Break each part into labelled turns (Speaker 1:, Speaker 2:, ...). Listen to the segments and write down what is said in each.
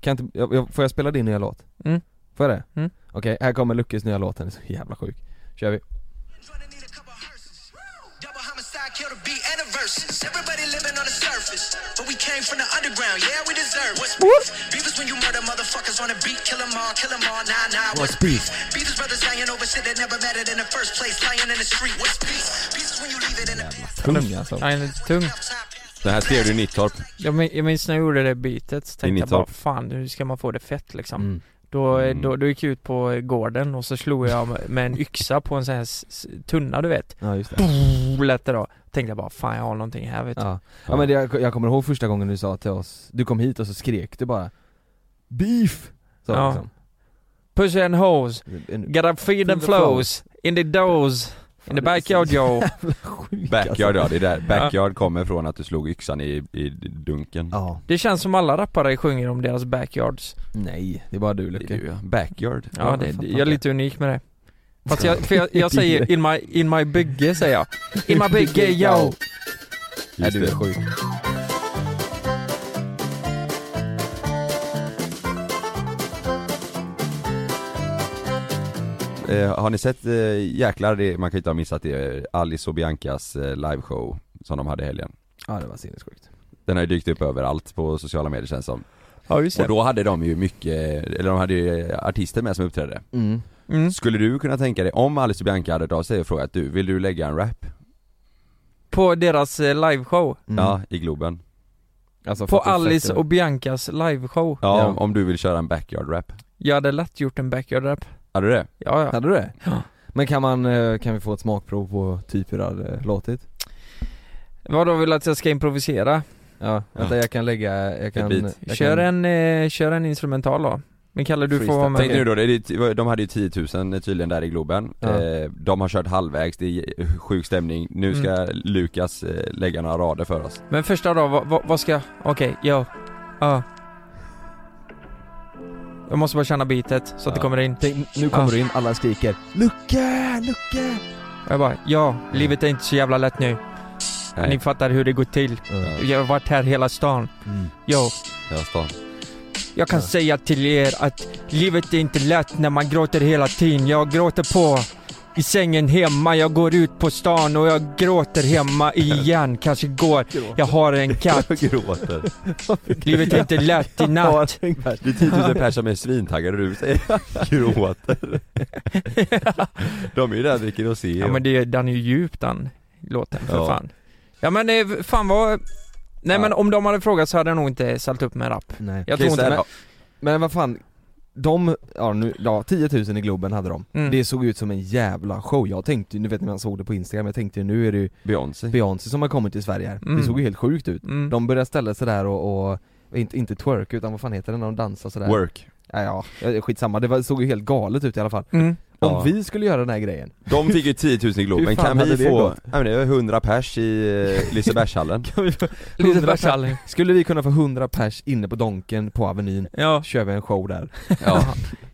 Speaker 1: Kan jag inte, jag, jag, får jag spela din nya låt?
Speaker 2: Mm.
Speaker 1: Får jag det?
Speaker 2: Mm.
Speaker 1: Okej, här kommer Luckes nya låt, den är så jävla sjuk Kör vi
Speaker 3: Gonna need a couple hearses. Double homicide, kill the beat and the verses. Everybody living on the surface, but we came from the underground. Yeah, we deserve what's beef. Beef is when you murder motherfuckers on the beat, kill 'em all, kill 'em all. Nah, nah, what's beef? Beef is brothers dying over shit that never mattered in the first place, lying in the street. What's beef? Beef is when you leave it in the past.
Speaker 1: Tung alltså
Speaker 2: Ja, den är tung.
Speaker 4: Det här skrev du i Nittorp.
Speaker 2: Jag, min, jag minns när jag gjorde det bitet, så tänkte jag bara
Speaker 4: Nittorp.
Speaker 2: fan hur ska man få det fett liksom?
Speaker 1: mm.
Speaker 2: Då,
Speaker 4: Mm.
Speaker 2: då, då gick jag ut på gården och så slog jag med en yxa på en sån här s- s- tunna du vet
Speaker 1: Ja just det
Speaker 2: Boom, Lät det då Tänkte jag bara fan jag har någonting här vet du
Speaker 1: Ja, ja men det, jag, jag kommer ihåg första gången du sa till oss, du kom hit och så skrek du bara Beef! Så
Speaker 2: Ja.
Speaker 1: liksom
Speaker 2: Push and hose,
Speaker 1: en,
Speaker 2: gotta feed
Speaker 1: the
Speaker 2: and flows, in the doors, in
Speaker 1: Fan, det
Speaker 2: the
Speaker 1: är så
Speaker 2: backyard yo
Speaker 1: sjuk,
Speaker 4: Backyard ja,
Speaker 1: alltså.
Speaker 4: det är där. Backyard kommer från att du slog yxan i, i dunken.
Speaker 1: Ja,
Speaker 2: Det känns som alla rappare sjunger om deras backyards
Speaker 1: nej, det är bara du
Speaker 4: Det är
Speaker 1: Lucke
Speaker 4: du, ja. Backyard.
Speaker 2: Ja,
Speaker 1: Ja,
Speaker 2: det,
Speaker 1: jag fattar
Speaker 2: jag är
Speaker 1: det.
Speaker 2: lite unik med det Fast jag, för jag, jag säger in my, in my bygge säger jag In my bygge yo
Speaker 1: Nej
Speaker 4: Just
Speaker 1: du är
Speaker 4: det.
Speaker 1: sjuk
Speaker 4: Eh, har ni sett, eh, jäklar, det, man kan ju inte ha missat det, eh, Alice och Biancas eh, liveshow som de hade i helgen.
Speaker 1: Ja det var sinnessjukt
Speaker 4: Den har ju dykt upp överallt på sociala medier känns som.
Speaker 2: Ja just
Speaker 4: Och då hade de ju mycket, eller de hade ju eh, artister med som uppträdde.
Speaker 1: mm.
Speaker 2: mm.
Speaker 4: Skulle du kunna tänka dig, om Alice och Bianca hade hört av sig och frågat du, vill du lägga en rap?
Speaker 2: På deras eh, liveshow
Speaker 1: Mm.
Speaker 4: Ja, i Globen.
Speaker 1: alltså,
Speaker 2: På
Speaker 1: fattar du
Speaker 2: Alice
Speaker 1: fett-
Speaker 2: och Biancas liveshow
Speaker 4: Ja,
Speaker 1: Ja.
Speaker 4: Om, om du vill köra en backyard-rap.
Speaker 2: Jag hade lätt gjort en backyard-rap
Speaker 4: Hade du det?
Speaker 2: Ja ja
Speaker 1: Hade du det?
Speaker 2: Ja.
Speaker 1: Men kan man, eh, kan vi få ett smakprov på typ hur det hade låtit?
Speaker 2: Vadå vill du att jag ska improvisera?
Speaker 1: Ja, vänta jag kan lägga, jag kan...
Speaker 4: beat.
Speaker 1: Jag
Speaker 2: Kör
Speaker 1: kan,
Speaker 2: en, eh, kör en instrumental då Men Kalle du får
Speaker 1: Freestyle.
Speaker 2: vara
Speaker 4: Tänk nu
Speaker 2: med
Speaker 4: då, det är, de hade ju 10 000 tydligen där i Globen.
Speaker 1: Ja.
Speaker 4: Eh, de har kört halvvägs, det är sjuk stämning. Nu
Speaker 2: Mm.
Speaker 4: ska Lukas eh, lägga några rader för oss.
Speaker 2: Men första då, vad, vad, vad ska jag, okej, yo, ja Jag måste bara känna beatet så att det
Speaker 1: Ja.
Speaker 2: kommer in
Speaker 1: Tänk, nu kommer
Speaker 2: Ja.
Speaker 1: du in, alla skriker 'Lucke! Lucke!'
Speaker 2: Jag bara, ja, livet är inte så jävla lätt nu.
Speaker 4: Nej.
Speaker 2: Ni fattar hur det går till.
Speaker 1: Ja.
Speaker 2: Jag har varit här hela stan.
Speaker 1: Mm.
Speaker 2: Jo,
Speaker 4: Ja, stan.
Speaker 2: jag kan
Speaker 1: Ja.
Speaker 2: säga till er att livet är inte lätt när man gråter hela tiden. Jag gråter på i sängen hemma, jag går ut på stan och jag gråter hemma igen. Kanske går. Jag har en katt.
Speaker 4: Jag gråter.
Speaker 2: Livet är inte lätt i natt.
Speaker 4: Det är 10 000 personer som är svintaggade och du säger gråter. De är ju där och dricker och ser.
Speaker 2: Ja men det, den är ju djup den låten för
Speaker 4: Ja.
Speaker 2: fan. Ja men eh, fan vad... Nej
Speaker 4: Ja.
Speaker 2: men om de hade frågat så hade jag nog inte ställt upp med en rap.
Speaker 1: Nej.
Speaker 2: Jag tror inte
Speaker 1: men, men vad fan, de, ja nu, ja 10 000 i Globen hade de.
Speaker 2: Mm.
Speaker 1: Det såg ut som en jävla show, jag tänkte ju, nu vet när man såg det på Instagram, jag tänkte ju nu är det ju
Speaker 4: Beyoncé.
Speaker 1: Beyoncé som har kommit till Sverige här.
Speaker 2: Mm.
Speaker 1: Det såg ju helt sjukt ut.
Speaker 2: Mm.
Speaker 1: De började ställa sig där och, och inte, inte twerk utan vad fan heter det när de dansar sådär?
Speaker 4: Work.
Speaker 1: Ja, ja, skitsamma, det var, såg ju helt galet ut i alla fall.
Speaker 2: Mm.
Speaker 1: Om
Speaker 4: Ja.
Speaker 1: vi skulle göra den här grejen,
Speaker 4: De fick ju 10 000 i Globen,
Speaker 1: Hur fan
Speaker 4: kan vi
Speaker 1: hade det
Speaker 4: få,
Speaker 1: gått?
Speaker 4: ja, men det är 100 pers i eh, Lisebergshallen?
Speaker 2: Litet
Speaker 1: 100
Speaker 2: Bersalling.
Speaker 1: skulle vi kunna få 100 pers inne på Donken på Avenyn,
Speaker 2: Ja,
Speaker 1: kör vi en show där.
Speaker 4: ja.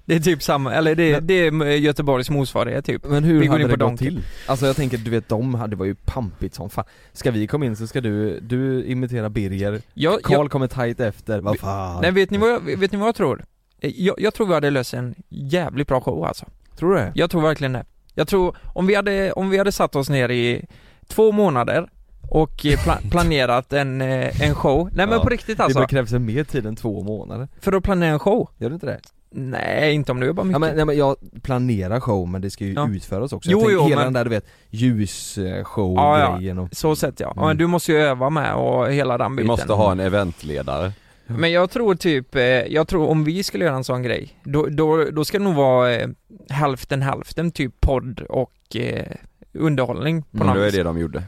Speaker 2: det är typ samma, eller det,
Speaker 1: Men-
Speaker 2: det är Göteborgs motsvarighet typ.
Speaker 1: Men hur
Speaker 2: Vi går
Speaker 1: hade
Speaker 2: in
Speaker 1: det
Speaker 2: på
Speaker 1: gått
Speaker 2: Donken.
Speaker 1: till? Alltså jag tänker, du vet de hade, det var ju pampigt som fan. Ska vi komma in så ska du, du imitera Birger,
Speaker 2: Jag, jag,
Speaker 1: Karl kommer tight efter, vad fan?
Speaker 2: nej vet ni vad jag, vet ni vad jag tror? Eh, Jag, jag tror vi hade löst en jävligt bra show alltså.
Speaker 1: Tror du det?
Speaker 2: Jag tror verkligen det. Jag tror, om vi hade, om vi hade satt oss ner i två månader och eh, pla- planerat en, eh, en show. Nej men
Speaker 4: Ja,
Speaker 2: på riktigt
Speaker 1: Det
Speaker 2: alltså.
Speaker 1: bara krävs mer tid än två månader,
Speaker 2: För att planera en show?
Speaker 1: gör det inte det?
Speaker 2: Nej, inte om du jobbar mycket.
Speaker 1: Ja, men, nej, men jag planerar show men det ska ju
Speaker 2: Ja.
Speaker 1: utföras också.
Speaker 2: Jo,
Speaker 1: jag tänker
Speaker 2: jo,
Speaker 1: hela den
Speaker 2: men-
Speaker 1: där du vet, ljusshow
Speaker 2: Ja, ja.
Speaker 1: grejen och...
Speaker 2: Så sett ja. ja. Men
Speaker 1: Mm.
Speaker 2: du måste ju öva med och hela den
Speaker 4: Vi
Speaker 2: biten.
Speaker 4: måste ha en eventledare.
Speaker 2: Men jag tror typ, eh, jag tror om vi skulle göra en sån grej, då, då, då ska det nog vara eh, hälften hälften, typ podd och eh, underhållning på
Speaker 1: Mm,
Speaker 4: Men
Speaker 2: något
Speaker 4: det var
Speaker 2: vis.
Speaker 4: det de gjorde.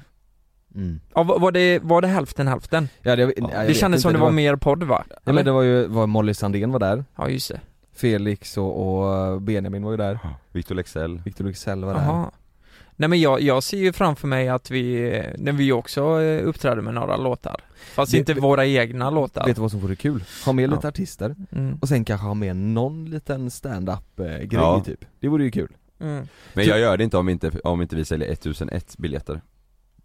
Speaker 1: Mm.
Speaker 2: Ja, var var det, var det hälften hälften?
Speaker 1: Ja, det,
Speaker 4: Ja.
Speaker 1: ja, jag
Speaker 2: det
Speaker 1: vet
Speaker 2: kändes
Speaker 1: inte,
Speaker 2: som det var, mer podd va?
Speaker 1: Ja, men det var ju, var Molly Sandén var där,
Speaker 2: Ja just det.
Speaker 1: Felix och, och Benjamin var ju där,
Speaker 4: Victor Lexell.
Speaker 1: Victor Luxell var där
Speaker 2: Jaha. Nej men jag, jag ser ju framför mig att vi, eh, när vi också eh, uppträder med några låtar. Fast
Speaker 1: Det-
Speaker 2: inte våra egna låtar.
Speaker 1: Vet du vad som vore kul? Ha med
Speaker 2: Ja.
Speaker 1: lite artister,
Speaker 2: Mm.
Speaker 1: och sen kanske ha med någon liten stand-up eh, grej
Speaker 4: Ja.
Speaker 1: typ Det vore ju kul
Speaker 2: Mm.
Speaker 4: Men jag gör det inte om inte, om inte vi säljer 1001 biljetter.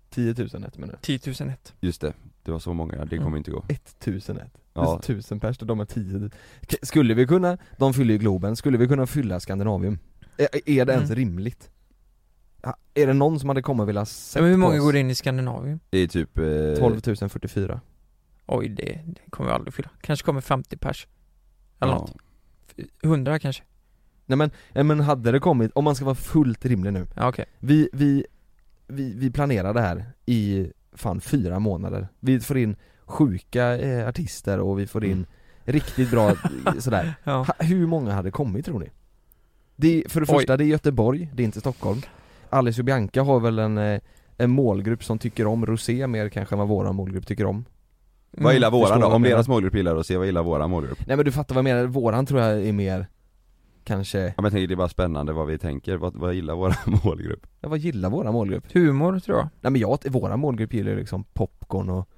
Speaker 1: 10 000 ett minut
Speaker 2: 10 001.
Speaker 4: Just det, det var så många, det kommer
Speaker 2: Mm.
Speaker 4: inte gå.
Speaker 1: 1001
Speaker 4: Ja.
Speaker 1: Alltså, tusen pers och de är tio K- Skulle vi kunna, de fyller ju Globen, skulle vi kunna fylla Skandinavium? Är, är det ens
Speaker 2: Mm.
Speaker 1: rimligt? Ha- Är det någon som hade kommit och velat sett
Speaker 2: Men hur
Speaker 1: på
Speaker 2: många
Speaker 1: oss?
Speaker 2: går in i Skandinavien?
Speaker 4: Det är typ... Eh,
Speaker 1: 12 044
Speaker 2: Oj, det, det kommer vi aldrig fylla. Kanske kommer 50 pers. Eller
Speaker 4: ja.
Speaker 2: något. 100 kanske.
Speaker 1: Nej men, nej, men hade det kommit, om man ska vara fullt rimlig nu
Speaker 2: Ja, okej.
Speaker 1: Vi, vi, vi, vi planerar det här i fan fyra månader Vi får in sjuka eh, artister och vi får in
Speaker 4: Mm.
Speaker 1: riktigt bra eh, sådär
Speaker 2: Ja.
Speaker 1: Ha, hur många hade kommit tror ni? Det är, för det
Speaker 2: Oj.
Speaker 1: första, det är Göteborg, det är inte Stockholm Alice och Bianca har väl en, eh, en målgrupp som tycker om rosé mer kanske än vad våran målgrupp tycker om
Speaker 2: Mm.
Speaker 4: Vad gillar
Speaker 1: Förstår
Speaker 4: våran då?
Speaker 1: vad jag
Speaker 4: Om
Speaker 1: menar.
Speaker 4: deras målgrupp gillar att se, vad gillar våran målgrupp?
Speaker 1: Nej men du fattar vad jag menar, våran tror jag är mer Kanske,
Speaker 4: Ja men jag tänker det är bara spännande vad vi tänker, vad, vad gillar våran målgrupp?
Speaker 1: ja, vad gillar våran målgrupp?
Speaker 2: Humor tror jag.
Speaker 1: Nej men jag, våran målgrupp gillar ju liksom popcorn och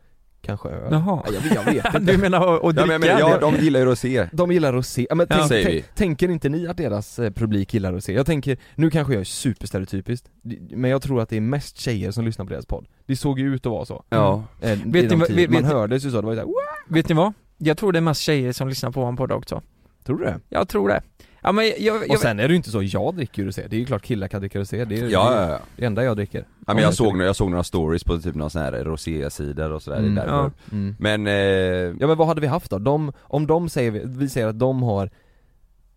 Speaker 1: kanske öl
Speaker 2: Jaha.
Speaker 1: Nej, jag, vet- jag vet
Speaker 2: Du
Speaker 1: inte
Speaker 2: menar att- att
Speaker 4: Ja men
Speaker 2: dricka?
Speaker 4: jag menar, ja de gillar ju att se
Speaker 1: De gillar rosé, ja, men tänk,
Speaker 4: säger vi.
Speaker 1: tänk, tänker inte ni att deras eh, publik gillar rosé? Jag tänker, nu kanske jag är superstereotypiskt Men jag tror att det är mest tjejer som lyssnar på deras podd Det såg ju ut att vara så
Speaker 4: Ja,
Speaker 1: Eh,
Speaker 2: Vet
Speaker 1: vet
Speaker 2: ni
Speaker 1: ni,
Speaker 2: vad- vet-
Speaker 1: man
Speaker 2: vet-
Speaker 1: hördes ju så, det var ju såhär,
Speaker 2: Vet ni vad? Jag tror det är mest tjejer som lyssnar på vår podd också.
Speaker 1: tror du det?
Speaker 2: Jag tror det. Ja men jag, jag,
Speaker 1: Och sen är det ju inte så, jag dricker ju rosé, det är ju klart killar kan dricka rosé, det är
Speaker 4: ja,
Speaker 1: ju
Speaker 4: ja, ja.
Speaker 1: det enda jag dricker
Speaker 4: ja men jag såg, några- jag såg några stories på typ några sån här rosé-sidor och sådär,
Speaker 1: Mm,
Speaker 4: det är därför.
Speaker 2: ja.
Speaker 1: mm.
Speaker 4: Men, eh,
Speaker 1: Ja men vad hade vi haft då? De, om de säger, vi- vi säger att de har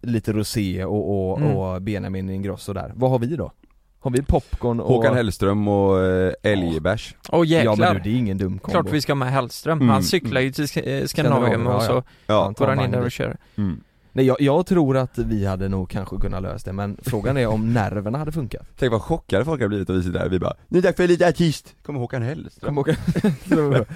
Speaker 1: lite rosé och, och,
Speaker 2: Mm.
Speaker 1: och Benjamin Ingrosso där, vad har vi då? Har vi popcorn och..
Speaker 4: Håkan Hellström och eh, älgebärs
Speaker 2: Åh
Speaker 1: Ja men
Speaker 2: jäklar.
Speaker 1: du, det är ingen dum kombo
Speaker 2: Klart vi ska med Hellström.
Speaker 4: Mm.
Speaker 2: Han cyklar ju till Sk- eh, Skandinavien
Speaker 1: Skandinavien,
Speaker 2: och
Speaker 1: ja,
Speaker 2: så
Speaker 4: Ja,
Speaker 1: Han tar
Speaker 2: går han in
Speaker 1: vagn
Speaker 2: där och
Speaker 1: dit.
Speaker 2: kör.
Speaker 4: mm.
Speaker 1: Nej jag, jag tror att vi hade nog kanske kunnat lösa det men frågan är om nerverna hade funkat
Speaker 4: Tänk vad chockade folk har blivit av vi sitter där, vi bara 'Nu är det dags för lite artist' Kommer Håkan Hellström
Speaker 1: Kom Håkan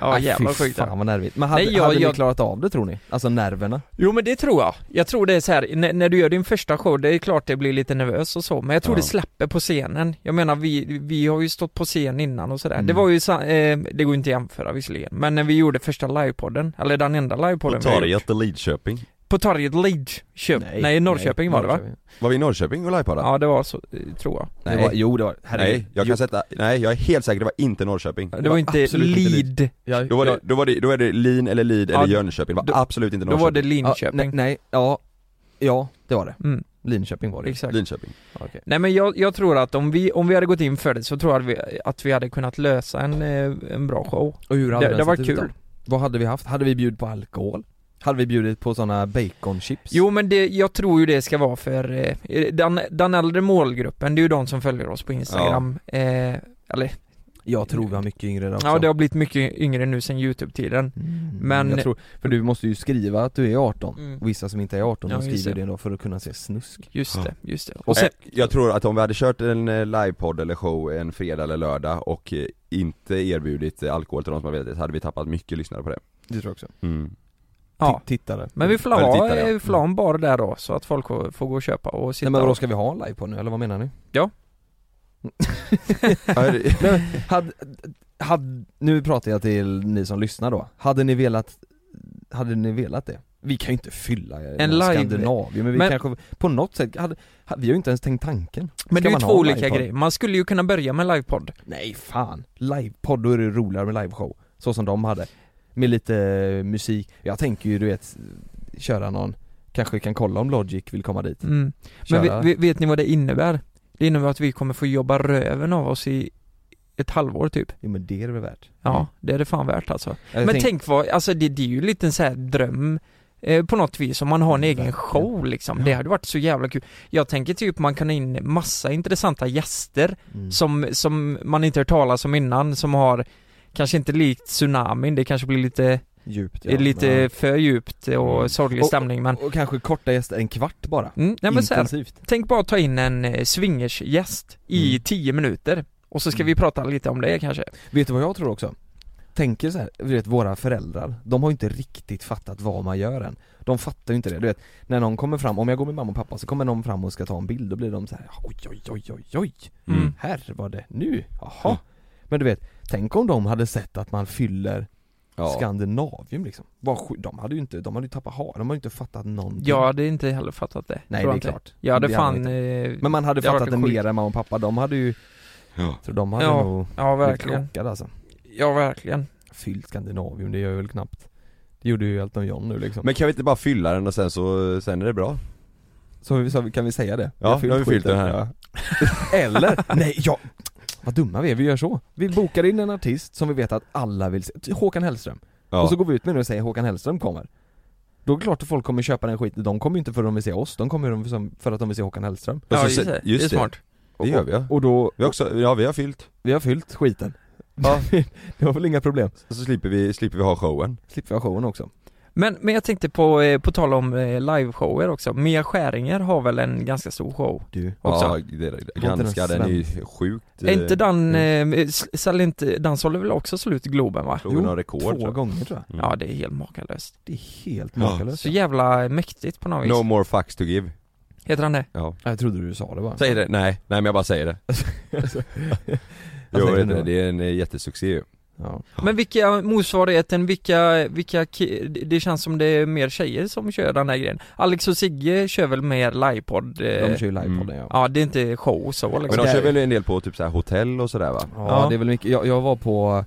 Speaker 2: Ja
Speaker 1: Nej,
Speaker 2: jävlar
Speaker 1: fy
Speaker 2: sjukt det.
Speaker 1: fan vad nervigt. Men hade,
Speaker 2: Nej, jag-
Speaker 1: hade
Speaker 2: jag-
Speaker 1: vi klarat av det tror ni? Alltså nerverna?
Speaker 2: Jo men det tror jag. Jag tror det är så här, när, när du gör din första show, det är klart det blir lite nervös och så, men jag tror
Speaker 4: Ja.
Speaker 2: det släpper på scenen. Jag menar vi, vi har ju stått på scen innan och sådär.
Speaker 1: Mm.
Speaker 2: Det var ju, sa- eh, det går ju inte att jämföra visserligen, men när vi gjorde första livepodden, eller den enda livepodden vi har gjort.
Speaker 4: i Lidköping
Speaker 2: På torget Lidköping, nej, nej Norrköping var det va?
Speaker 1: Norrköping.
Speaker 4: Var vi i Norrköping och livepoddade?
Speaker 2: Ja det var så, eh, tror jag.
Speaker 1: Nej. Det var, jo det var
Speaker 4: Nej, jag kan
Speaker 1: Jo,
Speaker 4: sätta, nej jag är helt säker, det var inte Norrköping
Speaker 2: Det var inte
Speaker 1: absolut inte
Speaker 2: Lid,
Speaker 1: jag,
Speaker 4: Då var det, då var det, då är det Lin eller Lid eller
Speaker 2: Ja,
Speaker 4: Jönköping, det var
Speaker 2: då-
Speaker 4: absolut inte
Speaker 2: då var det
Speaker 4: Norrköping
Speaker 1: ja,
Speaker 2: Linköping.
Speaker 1: nej, nej, ja, ja det var det.
Speaker 2: Mm,
Speaker 1: Linköping var det ju.
Speaker 2: exakt.
Speaker 4: Linköping
Speaker 1: Ja, okej.
Speaker 2: Nej men jag, jag tror att om vi, om vi hade gått in för det så tror jag att vi, att vi hade kunnat lösa en, eh, en bra show.
Speaker 1: Och hur hade
Speaker 2: Det-
Speaker 1: den
Speaker 2: det var
Speaker 1: sett ut
Speaker 2: kul.
Speaker 1: då? Vad hade vi haft? Hade vi bjudit på alkohol? Hade vi bjudit på sådana baconchips?
Speaker 2: Jo men det, jag tror ju det ska vara för eh, den, den äldre målgruppen, det är ju de som följer oss på Instagram eh, Eller,
Speaker 1: Jag tror vi har mycket yngre där också.
Speaker 2: ja det har blivit mycket yngre nu sen YouTube-tiden
Speaker 1: Mm,
Speaker 2: men-
Speaker 1: jag tror, för du måste ju skriva att du är 18
Speaker 2: Mm.
Speaker 1: och vissa som inte är 18
Speaker 2: Ja,
Speaker 1: de
Speaker 2: just
Speaker 1: skriver
Speaker 2: det.
Speaker 1: det ändå för att kunna se snusk
Speaker 2: Just
Speaker 4: Ja.
Speaker 2: det, just det.
Speaker 4: Och
Speaker 2: Och sen,
Speaker 4: jag tror att om vi hade kört en eh, livepodd eller show en fredag eller lördag och eh, inte erbjudit eh, alkohol till de som har velat det, så hade vi tappat mycket lyssnare på det Mm.
Speaker 1: Det tror jag också
Speaker 2: ja.
Speaker 1: Mm. Tittare
Speaker 2: Men vi får
Speaker 4: Eller
Speaker 2: la-
Speaker 4: tittare, ja.
Speaker 2: eh, vi får la en bar där då, så att folk får, får gå och köpa och sitta
Speaker 1: Nej men vadå,
Speaker 2: och-
Speaker 1: ska vi ha en live på nu eller vad menar ni?
Speaker 4: Ja, det-
Speaker 1: Nej, men hade, hade, nu pratar jag till ni som lyssnar då, hade ni velat, hade ni velat det? Vi kan ju inte fylla
Speaker 2: En
Speaker 1: en
Speaker 2: live-
Speaker 1: Skandinavien men vi
Speaker 2: Men-
Speaker 1: kanske, på något sätt, hade, hade, vi har ju inte ens tänkt tanken
Speaker 2: Men det
Speaker 1: Ska
Speaker 2: är ju
Speaker 1: man
Speaker 2: två
Speaker 1: ha en
Speaker 2: olika
Speaker 1: livepodd?
Speaker 2: grejer, man skulle ju kunna börja med livepodd
Speaker 1: Nej fan, livepodd, då är det roligare med liveshow, så som de hade Med lite eh, musik, jag tänker ju du vet, köra någon, kanske kan kolla om Logic vill komma dit
Speaker 2: mm. Men
Speaker 1: Köra.
Speaker 2: vet, vet- vet ni vad det innebär? Det innebär att vi kommer få jobba röven av oss i ett halvår typ
Speaker 1: Jo men det är det väl värt?
Speaker 2: Ja, det är det fan värt alltså
Speaker 1: Mm. Jag
Speaker 2: Men
Speaker 1: tänk-
Speaker 2: tänk vad, alltså det, det är ju en liten så här dröm eh, på något vis, om man har en egen
Speaker 1: Verkligen.
Speaker 2: show liksom. Det hade varit så jävla kul. Jag tänker typ man kan ha in massa intressanta gäster
Speaker 1: mm.
Speaker 2: som, som man inte hört talas om innan, som har Kanske inte likt tsunamin, det kanske blir lite,
Speaker 1: djupt
Speaker 2: är lite
Speaker 1: men-
Speaker 2: för djupt
Speaker 4: Mm.
Speaker 2: och sorglig
Speaker 1: Och-
Speaker 2: stämning men,
Speaker 1: Och kanske korta gäster, en kvart bara
Speaker 2: mm, nej, men så här,
Speaker 1: Intensivt
Speaker 2: Tänk bara att ta in en eh, swingersgäst i
Speaker 1: Mm.
Speaker 2: 10 minuter och så ska
Speaker 1: Mm.
Speaker 2: vi prata lite om det kanske.
Speaker 1: Vet du vad jag tror också? Tänker så här, du vet våra föräldrar, de har ju inte riktigt fattat vad man gör än De fattar ju inte det, du vet När någon kommer fram, om jag går med mamma och pappa så kommer någon fram och ska ta en bild, då blir de så här, oj oj oj oj oj
Speaker 2: Mm.
Speaker 1: Här var det nu, jaha
Speaker 4: Mm.
Speaker 1: Men du vet, tänk om de hade sett att man fyller Skandinavium liksom Vad sj- De hade ju inte, de hade ju tappat ha, de hade ju inte fattat någonting
Speaker 2: Jag hade inte heller fattat det.
Speaker 1: Mm. Nej
Speaker 2: tror
Speaker 1: det
Speaker 2: jag
Speaker 1: är
Speaker 2: inte.
Speaker 1: klart
Speaker 2: Jag hade
Speaker 1: Det
Speaker 2: fan...
Speaker 1: man inte.
Speaker 2: eh,
Speaker 1: Men man hade
Speaker 2: det hade
Speaker 1: fattat det
Speaker 2: varit
Speaker 1: mer än mamma och pappa, de hade ju,
Speaker 4: Ja.
Speaker 1: tror de hade
Speaker 2: Ja,
Speaker 1: nog
Speaker 2: Ja
Speaker 1: blivit
Speaker 2: verkligen,
Speaker 1: chockade alltså
Speaker 2: ja verkligen
Speaker 1: Fyllt Skandinavium, det gör jag väl knappt Det gjorde ju Elton John nu liksom
Speaker 4: Men kan vi inte bara fylla den och sen så, eh, sen är det bra?
Speaker 1: Så, vi- så kan vi säga det?
Speaker 4: Ja, nu har vi fyllt
Speaker 1: skiten.
Speaker 4: den här.
Speaker 1: Ja. Eller, nej ja, vad dumma vi är, vi gör så. Vi bokar in en artist som vi vet att alla vill se, Typ Håkan Hellström.
Speaker 4: Ja.
Speaker 1: Och så går vi ut med den och säger Håkan Hellström kommer. Då är det klart att folk kommer köpa den skiten, de kommer ju inte för att de vill se oss, de kommer ju som- för att de vill se Håkan Hellström.
Speaker 4: Och så
Speaker 2: Ja,
Speaker 4: se-
Speaker 2: just det.
Speaker 4: just
Speaker 2: det är
Speaker 4: det.
Speaker 2: smart.
Speaker 4: det gör vi ja.
Speaker 1: Och då,
Speaker 4: Vi har också, ja vi har fyllt.
Speaker 1: vi har fyllt skiten.
Speaker 4: Ja.
Speaker 1: det var väl inga problem.
Speaker 4: Så slipper vi, slipper vi ha showen.
Speaker 1: Slipper jag showen också.
Speaker 2: Men, men jag tänkte på, eh, på tal om eh, liveshower också, Mia Skäringer har väl en ganska stor show?
Speaker 1: Du.
Speaker 2: Också.
Speaker 4: Ja, det, det, ganska,
Speaker 1: den
Speaker 4: den är ju sjukt...
Speaker 2: Är inte den,
Speaker 4: mm.
Speaker 2: eh, s- säljer inte, den sålde väl också slut Globen va?
Speaker 4: Slog
Speaker 1: Jo,
Speaker 4: någon rekord
Speaker 1: Två
Speaker 4: tror jag.
Speaker 1: gånger tror jag.
Speaker 4: Mm.
Speaker 2: Ja det är helt makalöst.
Speaker 1: Det är helt
Speaker 4: Ja.
Speaker 1: makalöst.
Speaker 2: Så jävla mäktigt på något vis.
Speaker 4: No more fucks to give.
Speaker 2: Heter han det?
Speaker 4: Ja.
Speaker 1: Jag trodde du sa det bara.
Speaker 4: Säg det, nej, nej men jag bara säger det.
Speaker 1: Jag
Speaker 4: Jo,
Speaker 1: säger
Speaker 4: det,
Speaker 1: det nu.
Speaker 4: det, det är en eh, jättesuccé ju.
Speaker 1: Ja.
Speaker 2: Men vilka motsvarigheten, vilka, vilka, ki- det- det känns som det är mer tjejer som kör den här grejen. Alex och Sigge kör väl mer livepodd? eh,
Speaker 1: De kör ju livepodden ja.
Speaker 2: Ja det är inte show så
Speaker 4: Men
Speaker 2: liksom.
Speaker 4: de
Speaker 1: där-
Speaker 4: kör väl en del på typ så här hotell och sådär va?
Speaker 1: Ja,
Speaker 2: Ja.
Speaker 1: det är väl mycket, jag, jag var på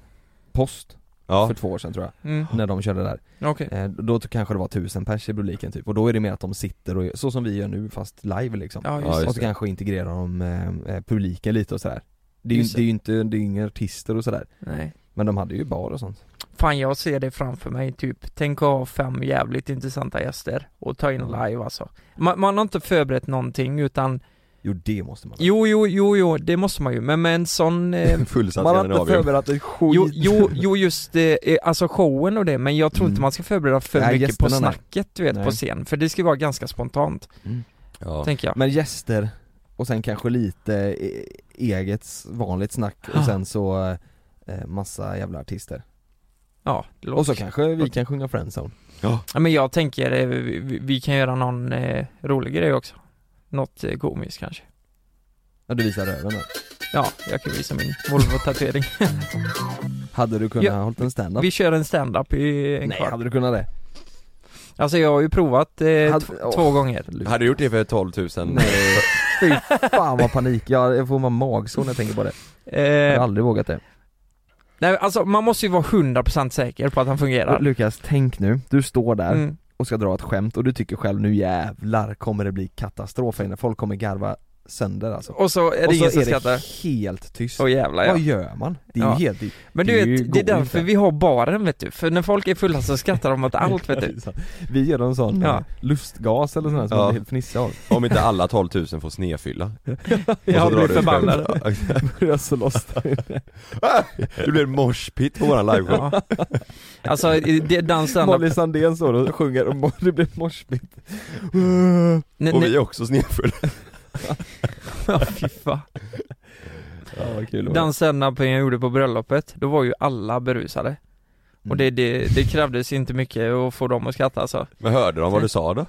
Speaker 1: post
Speaker 4: Ja,
Speaker 1: för två år sedan tror jag,
Speaker 2: Mm.
Speaker 1: när de körde där.
Speaker 2: Okej.
Speaker 1: Eh, då t- kanske det var tusen pers i publiken typ, och då är det mer att de sitter och, så som vi gör nu fast live liksom.
Speaker 2: Ja
Speaker 4: Ja,
Speaker 2: just det.
Speaker 4: just
Speaker 1: och så
Speaker 4: det.
Speaker 1: kanske integrerar de eh, eh, publiken lite och sådär. Det är ju
Speaker 2: Just
Speaker 1: det. är
Speaker 2: det.
Speaker 1: ju inte, det är ju inga artister och sådär.
Speaker 2: Nej.
Speaker 1: Men de hade ju bar och sånt.
Speaker 2: Fan jag ser det framför mig typ, tänk att ha fem jävligt intressanta gäster och ta in live alltså. Man, man har inte förberett någonting utan,
Speaker 1: Jo det måste man
Speaker 2: jo jo jo jo, det måste man ju, men med en sån eh,
Speaker 4: Fullsatt
Speaker 1: Man har inte
Speaker 4: Skandinavien.
Speaker 1: förberett ett skit.
Speaker 2: Jo, jo, jo just eh, eh, alltså showen och det, men jag tror
Speaker 1: Mm.
Speaker 2: inte man ska förbereda för
Speaker 1: Nej,
Speaker 2: mycket på
Speaker 1: gästerna, nej.
Speaker 2: snacket du vet
Speaker 1: Nej.
Speaker 2: på scen, för det ska vara ganska spontant,
Speaker 4: Ja.
Speaker 2: tänker jag.
Speaker 1: Men gäster, och sen kanske lite eh, eget vanligt snack
Speaker 2: Ah.
Speaker 1: och sen så eh, massa jävla artister.
Speaker 2: Ja, det
Speaker 1: Och
Speaker 2: låter.
Speaker 1: så kanske vi kan sjunga Friendzone.
Speaker 2: Ja, men jag tänker eh, vi, vi- vi kan göra någon eh, rolig grej också. Något eh, komiskt kanske.
Speaker 1: Ja du visar röven där.
Speaker 2: Ja, jag kan visa min Volvo-tatuering.
Speaker 1: Hade du kunnat
Speaker 2: Ja,
Speaker 1: hållit en stand-up?
Speaker 2: Vi kör en stand-up i en
Speaker 1: Nej,
Speaker 2: kvart.
Speaker 1: hade du kunnat det?
Speaker 2: Alltså jag har ju provat eh,
Speaker 1: Hade-
Speaker 2: tv-
Speaker 1: åh.
Speaker 2: två gånger.
Speaker 4: Hade du gjort det för 12 000?
Speaker 1: Nej, fy fan vad panik, jag jag får man magsår när jag tänker på det. Jag har
Speaker 2: Eh,
Speaker 1: aldrig vågat det.
Speaker 2: nej, alltså man måste ju vara 100% säker på att han fungerar.
Speaker 1: Lukas, tänk nu, du står där
Speaker 2: Mm.
Speaker 1: och ska dra ett skämt och du tycker själv nu jävlar kommer det bli katastrof här inne, folk kommer garva sönder alltså.
Speaker 2: Och så är det
Speaker 1: och så
Speaker 2: ingen som
Speaker 1: är
Speaker 2: skrattar.
Speaker 1: det helt tyst.
Speaker 2: Åh jävlar ja.
Speaker 1: Vad gör man? Det är
Speaker 2: Ja.
Speaker 1: ju helt... det-
Speaker 2: Men du
Speaker 1: Det
Speaker 2: vet,
Speaker 1: går
Speaker 2: det är därför
Speaker 1: inte.
Speaker 2: vi har baren vet du, för när folk är fulla så skrattar de åt allt vet du
Speaker 1: Vi gör en sån
Speaker 2: Ja.
Speaker 1: eh, lustgas eller sån här som
Speaker 4: Ja.
Speaker 1: man blir helt fnissig av.
Speaker 4: Om inte alla 12 000 får snedfylla.
Speaker 2: Jag blir förbannad
Speaker 1: Börjar slåss.
Speaker 4: Det blir en moshpit på våran liveshow.
Speaker 2: ja. Alltså det är den standup,
Speaker 1: Molly Sandén står och sjunger och det blir morsbitt.
Speaker 2: nej,
Speaker 4: Och vi
Speaker 2: nej,
Speaker 4: är också snedfulla.
Speaker 2: ja, fy fan.
Speaker 1: Ja, vad kul det var.
Speaker 2: Den standupen jag gjorde på bröllopet, då var ju alla berusade
Speaker 4: Mm.
Speaker 2: Och det, det, det krävdes inte mycket att få dem att skratta alltså
Speaker 4: Men hörde de vad du sa då?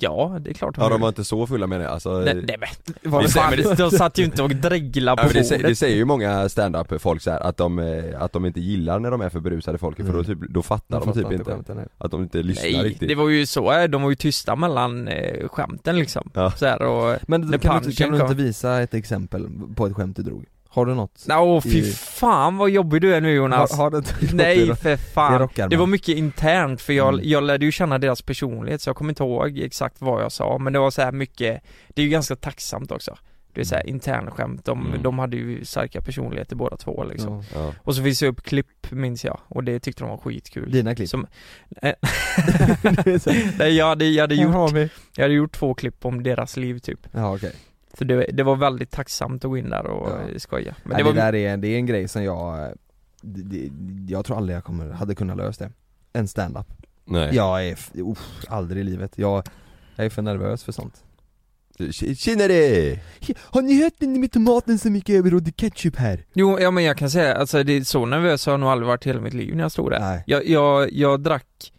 Speaker 2: Ja, det är klart
Speaker 4: Ja de var
Speaker 2: gjorde.
Speaker 4: inte så fulla menar jag, alltså,
Speaker 2: Nej, nej men,
Speaker 1: Var
Speaker 4: Vi
Speaker 2: vad
Speaker 4: ser-
Speaker 2: fan,
Speaker 4: men det-
Speaker 2: de satt ju inte och dreglade
Speaker 4: Ja,
Speaker 2: på
Speaker 4: men det, sä- det
Speaker 2: bordet
Speaker 4: säger ju många stand-up folk så här, att, de, eh, att de inte gillar när de är för berusade folk för då, typ, då fattar de, typ inte att de inte lyssnar
Speaker 2: Nej,
Speaker 4: riktigt
Speaker 2: det var ju så, eh, de var ju tysta mellan eh, skämten liksom
Speaker 4: Ja.
Speaker 2: så här, och
Speaker 1: Men
Speaker 2: När
Speaker 1: kan, du, inte-
Speaker 2: punchen
Speaker 1: kan du inte
Speaker 2: kom.
Speaker 1: visa ett exempel på ett skämt du drog? Har du något?
Speaker 2: Nej, Åh fy
Speaker 1: I-
Speaker 2: fan vad jobbig du är nu Jonas
Speaker 1: har, har du inte något i
Speaker 2: Nej
Speaker 1: ro-
Speaker 2: för
Speaker 1: i
Speaker 2: fan
Speaker 1: rockarmen?
Speaker 2: Det var mycket internt för jag,
Speaker 1: Mm.
Speaker 2: jag lärde ju känna deras personlighet så jag kommer inte ihåg exakt vad jag sa men det var så här mycket Det är ju ganska tacksamt också Det är såhär internskämt, de,
Speaker 4: Mm.
Speaker 2: de hade ju starka personligheter båda två liksom
Speaker 1: Ja.
Speaker 4: ja.
Speaker 2: Och så visade jag upp klipp minns jag och det tyckte de var skitkul
Speaker 1: Dina klipp?
Speaker 2: Som, eh, Nej jag hade, jag, hade
Speaker 1: Här
Speaker 2: gjort,
Speaker 1: har vi.
Speaker 2: jag hade gjort två klipp om deras liv typ
Speaker 1: Ja okej.
Speaker 2: Så det, det var väldigt tacksamt att gå in där och eh, skoja Men
Speaker 1: Nej,
Speaker 2: det var
Speaker 1: det där är, det är en grej som jag, eh, det, det, jag tror aldrig jag kommer, hade kunnat lösa det. En stand-up.
Speaker 4: Nej.
Speaker 1: Jag är, f- uff, aldrig i livet. Jag, jag är för nervös för sånt.
Speaker 4: Tj- Tjenare!
Speaker 1: Har ni hört med tomaten så mycket överrådd ketchup här?
Speaker 2: Jo, ja men jag kan säga, alltså det är så nervös har jag nog aldrig varit i hela mitt liv när jag stod där.
Speaker 1: Nej.
Speaker 2: Jag, jag, jag drack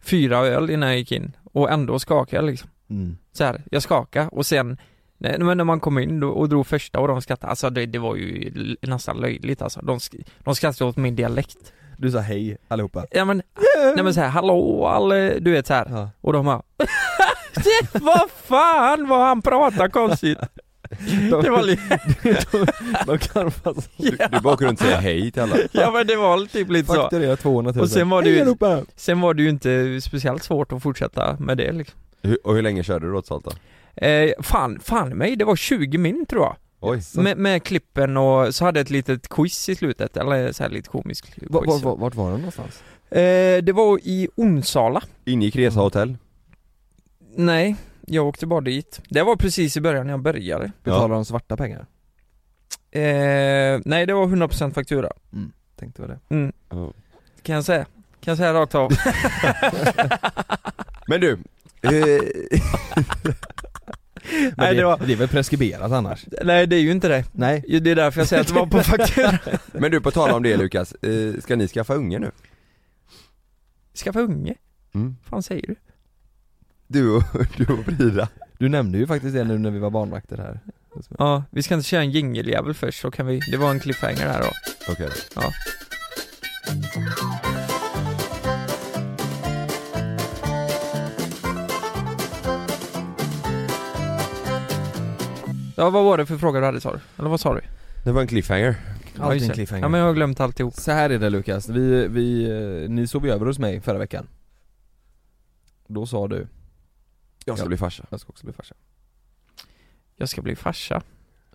Speaker 2: fyra öl innan jag gick in och ändå skakade jag liksom.
Speaker 1: Mm.
Speaker 2: Så här, jag skakade och sen, nej, men när man kom in då, och drog första och de skrattade, alltså det, det var ju l- nästan löjligt alltså. De, sk- de skrattade åt min dialekt.
Speaker 1: Du sa hej allihopa.
Speaker 2: Ja men, nej men så här, hallå alle, du vet så här.
Speaker 1: Ja.
Speaker 2: Och de bara, "Det- vad fan vad han pratar konstigt.
Speaker 1: De,
Speaker 2: Det var lite,
Speaker 1: de
Speaker 2: alltså-
Speaker 1: karvas
Speaker 4: Du, du bara åker runt och säger hej till alla.
Speaker 2: ja men det var typ lite så.
Speaker 1: Fakturera 200 000
Speaker 2: Och sen var det
Speaker 1: Hej
Speaker 2: ju,
Speaker 1: allihopa!
Speaker 2: sen var det ju inte speciellt svårt att fortsätta med det liksom.
Speaker 4: Hur, och hur länge körde du då totalt då?
Speaker 2: Eh, fan, fan mig, det var 20 min tror jag.
Speaker 4: Oj.
Speaker 2: Med, med klippen och så hade jag ett litet quiz i slutet, eller så här lite komisk quiz.
Speaker 1: Var, var, var, vart var de någonstans?
Speaker 2: Eh, det var i Onsala.
Speaker 4: Ingick Resa hotell?
Speaker 2: Nej, jag åkte bara dit. Det var precis i början när jag började.
Speaker 1: Betalade de svarta pengar?
Speaker 2: Eh, nej, det var 100% faktura.
Speaker 1: Tänkte väl det
Speaker 2: Mm,
Speaker 4: Ja.
Speaker 2: kan jag säga. Kan jag säga rakt av.
Speaker 4: Men du, eh,
Speaker 1: Men
Speaker 2: Nej,
Speaker 1: det,
Speaker 2: det var-
Speaker 1: det är väl preskriberat annars?
Speaker 2: nej, det är ju inte det.
Speaker 1: Nej
Speaker 2: Det är därför jag säger att det var på faktura.
Speaker 4: men du på tal om det Lukas, eh, ska ni skaffa unge nu?
Speaker 2: Skaffa unge?
Speaker 4: Mm.
Speaker 2: Vad fan säger du?
Speaker 4: Du och, du och Frida?
Speaker 1: Du nämnde ju faktiskt det nu när vi var barnvakter här
Speaker 2: Ja, vi ska inte köra en jingeljävel först så kan vi, det var en cliffhanger där då.
Speaker 4: Okej
Speaker 2: Ja. Ja vad var det för fråga du hade sa du? Eller vad sa du?
Speaker 4: Det var en cliffhanger
Speaker 2: Ja,
Speaker 1: Alltid
Speaker 2: just
Speaker 1: en
Speaker 2: det.
Speaker 1: cliffhanger
Speaker 2: Ja men jag har glömt alltihop.
Speaker 1: Så här är det Lukas, vi, vi, eh, ni sov ju över hos mig förra veckan Då sa du,
Speaker 4: Jag ska
Speaker 1: Ja.
Speaker 4: bli farsa
Speaker 1: jag ska också bli farsa
Speaker 2: Jag ska bli farsa.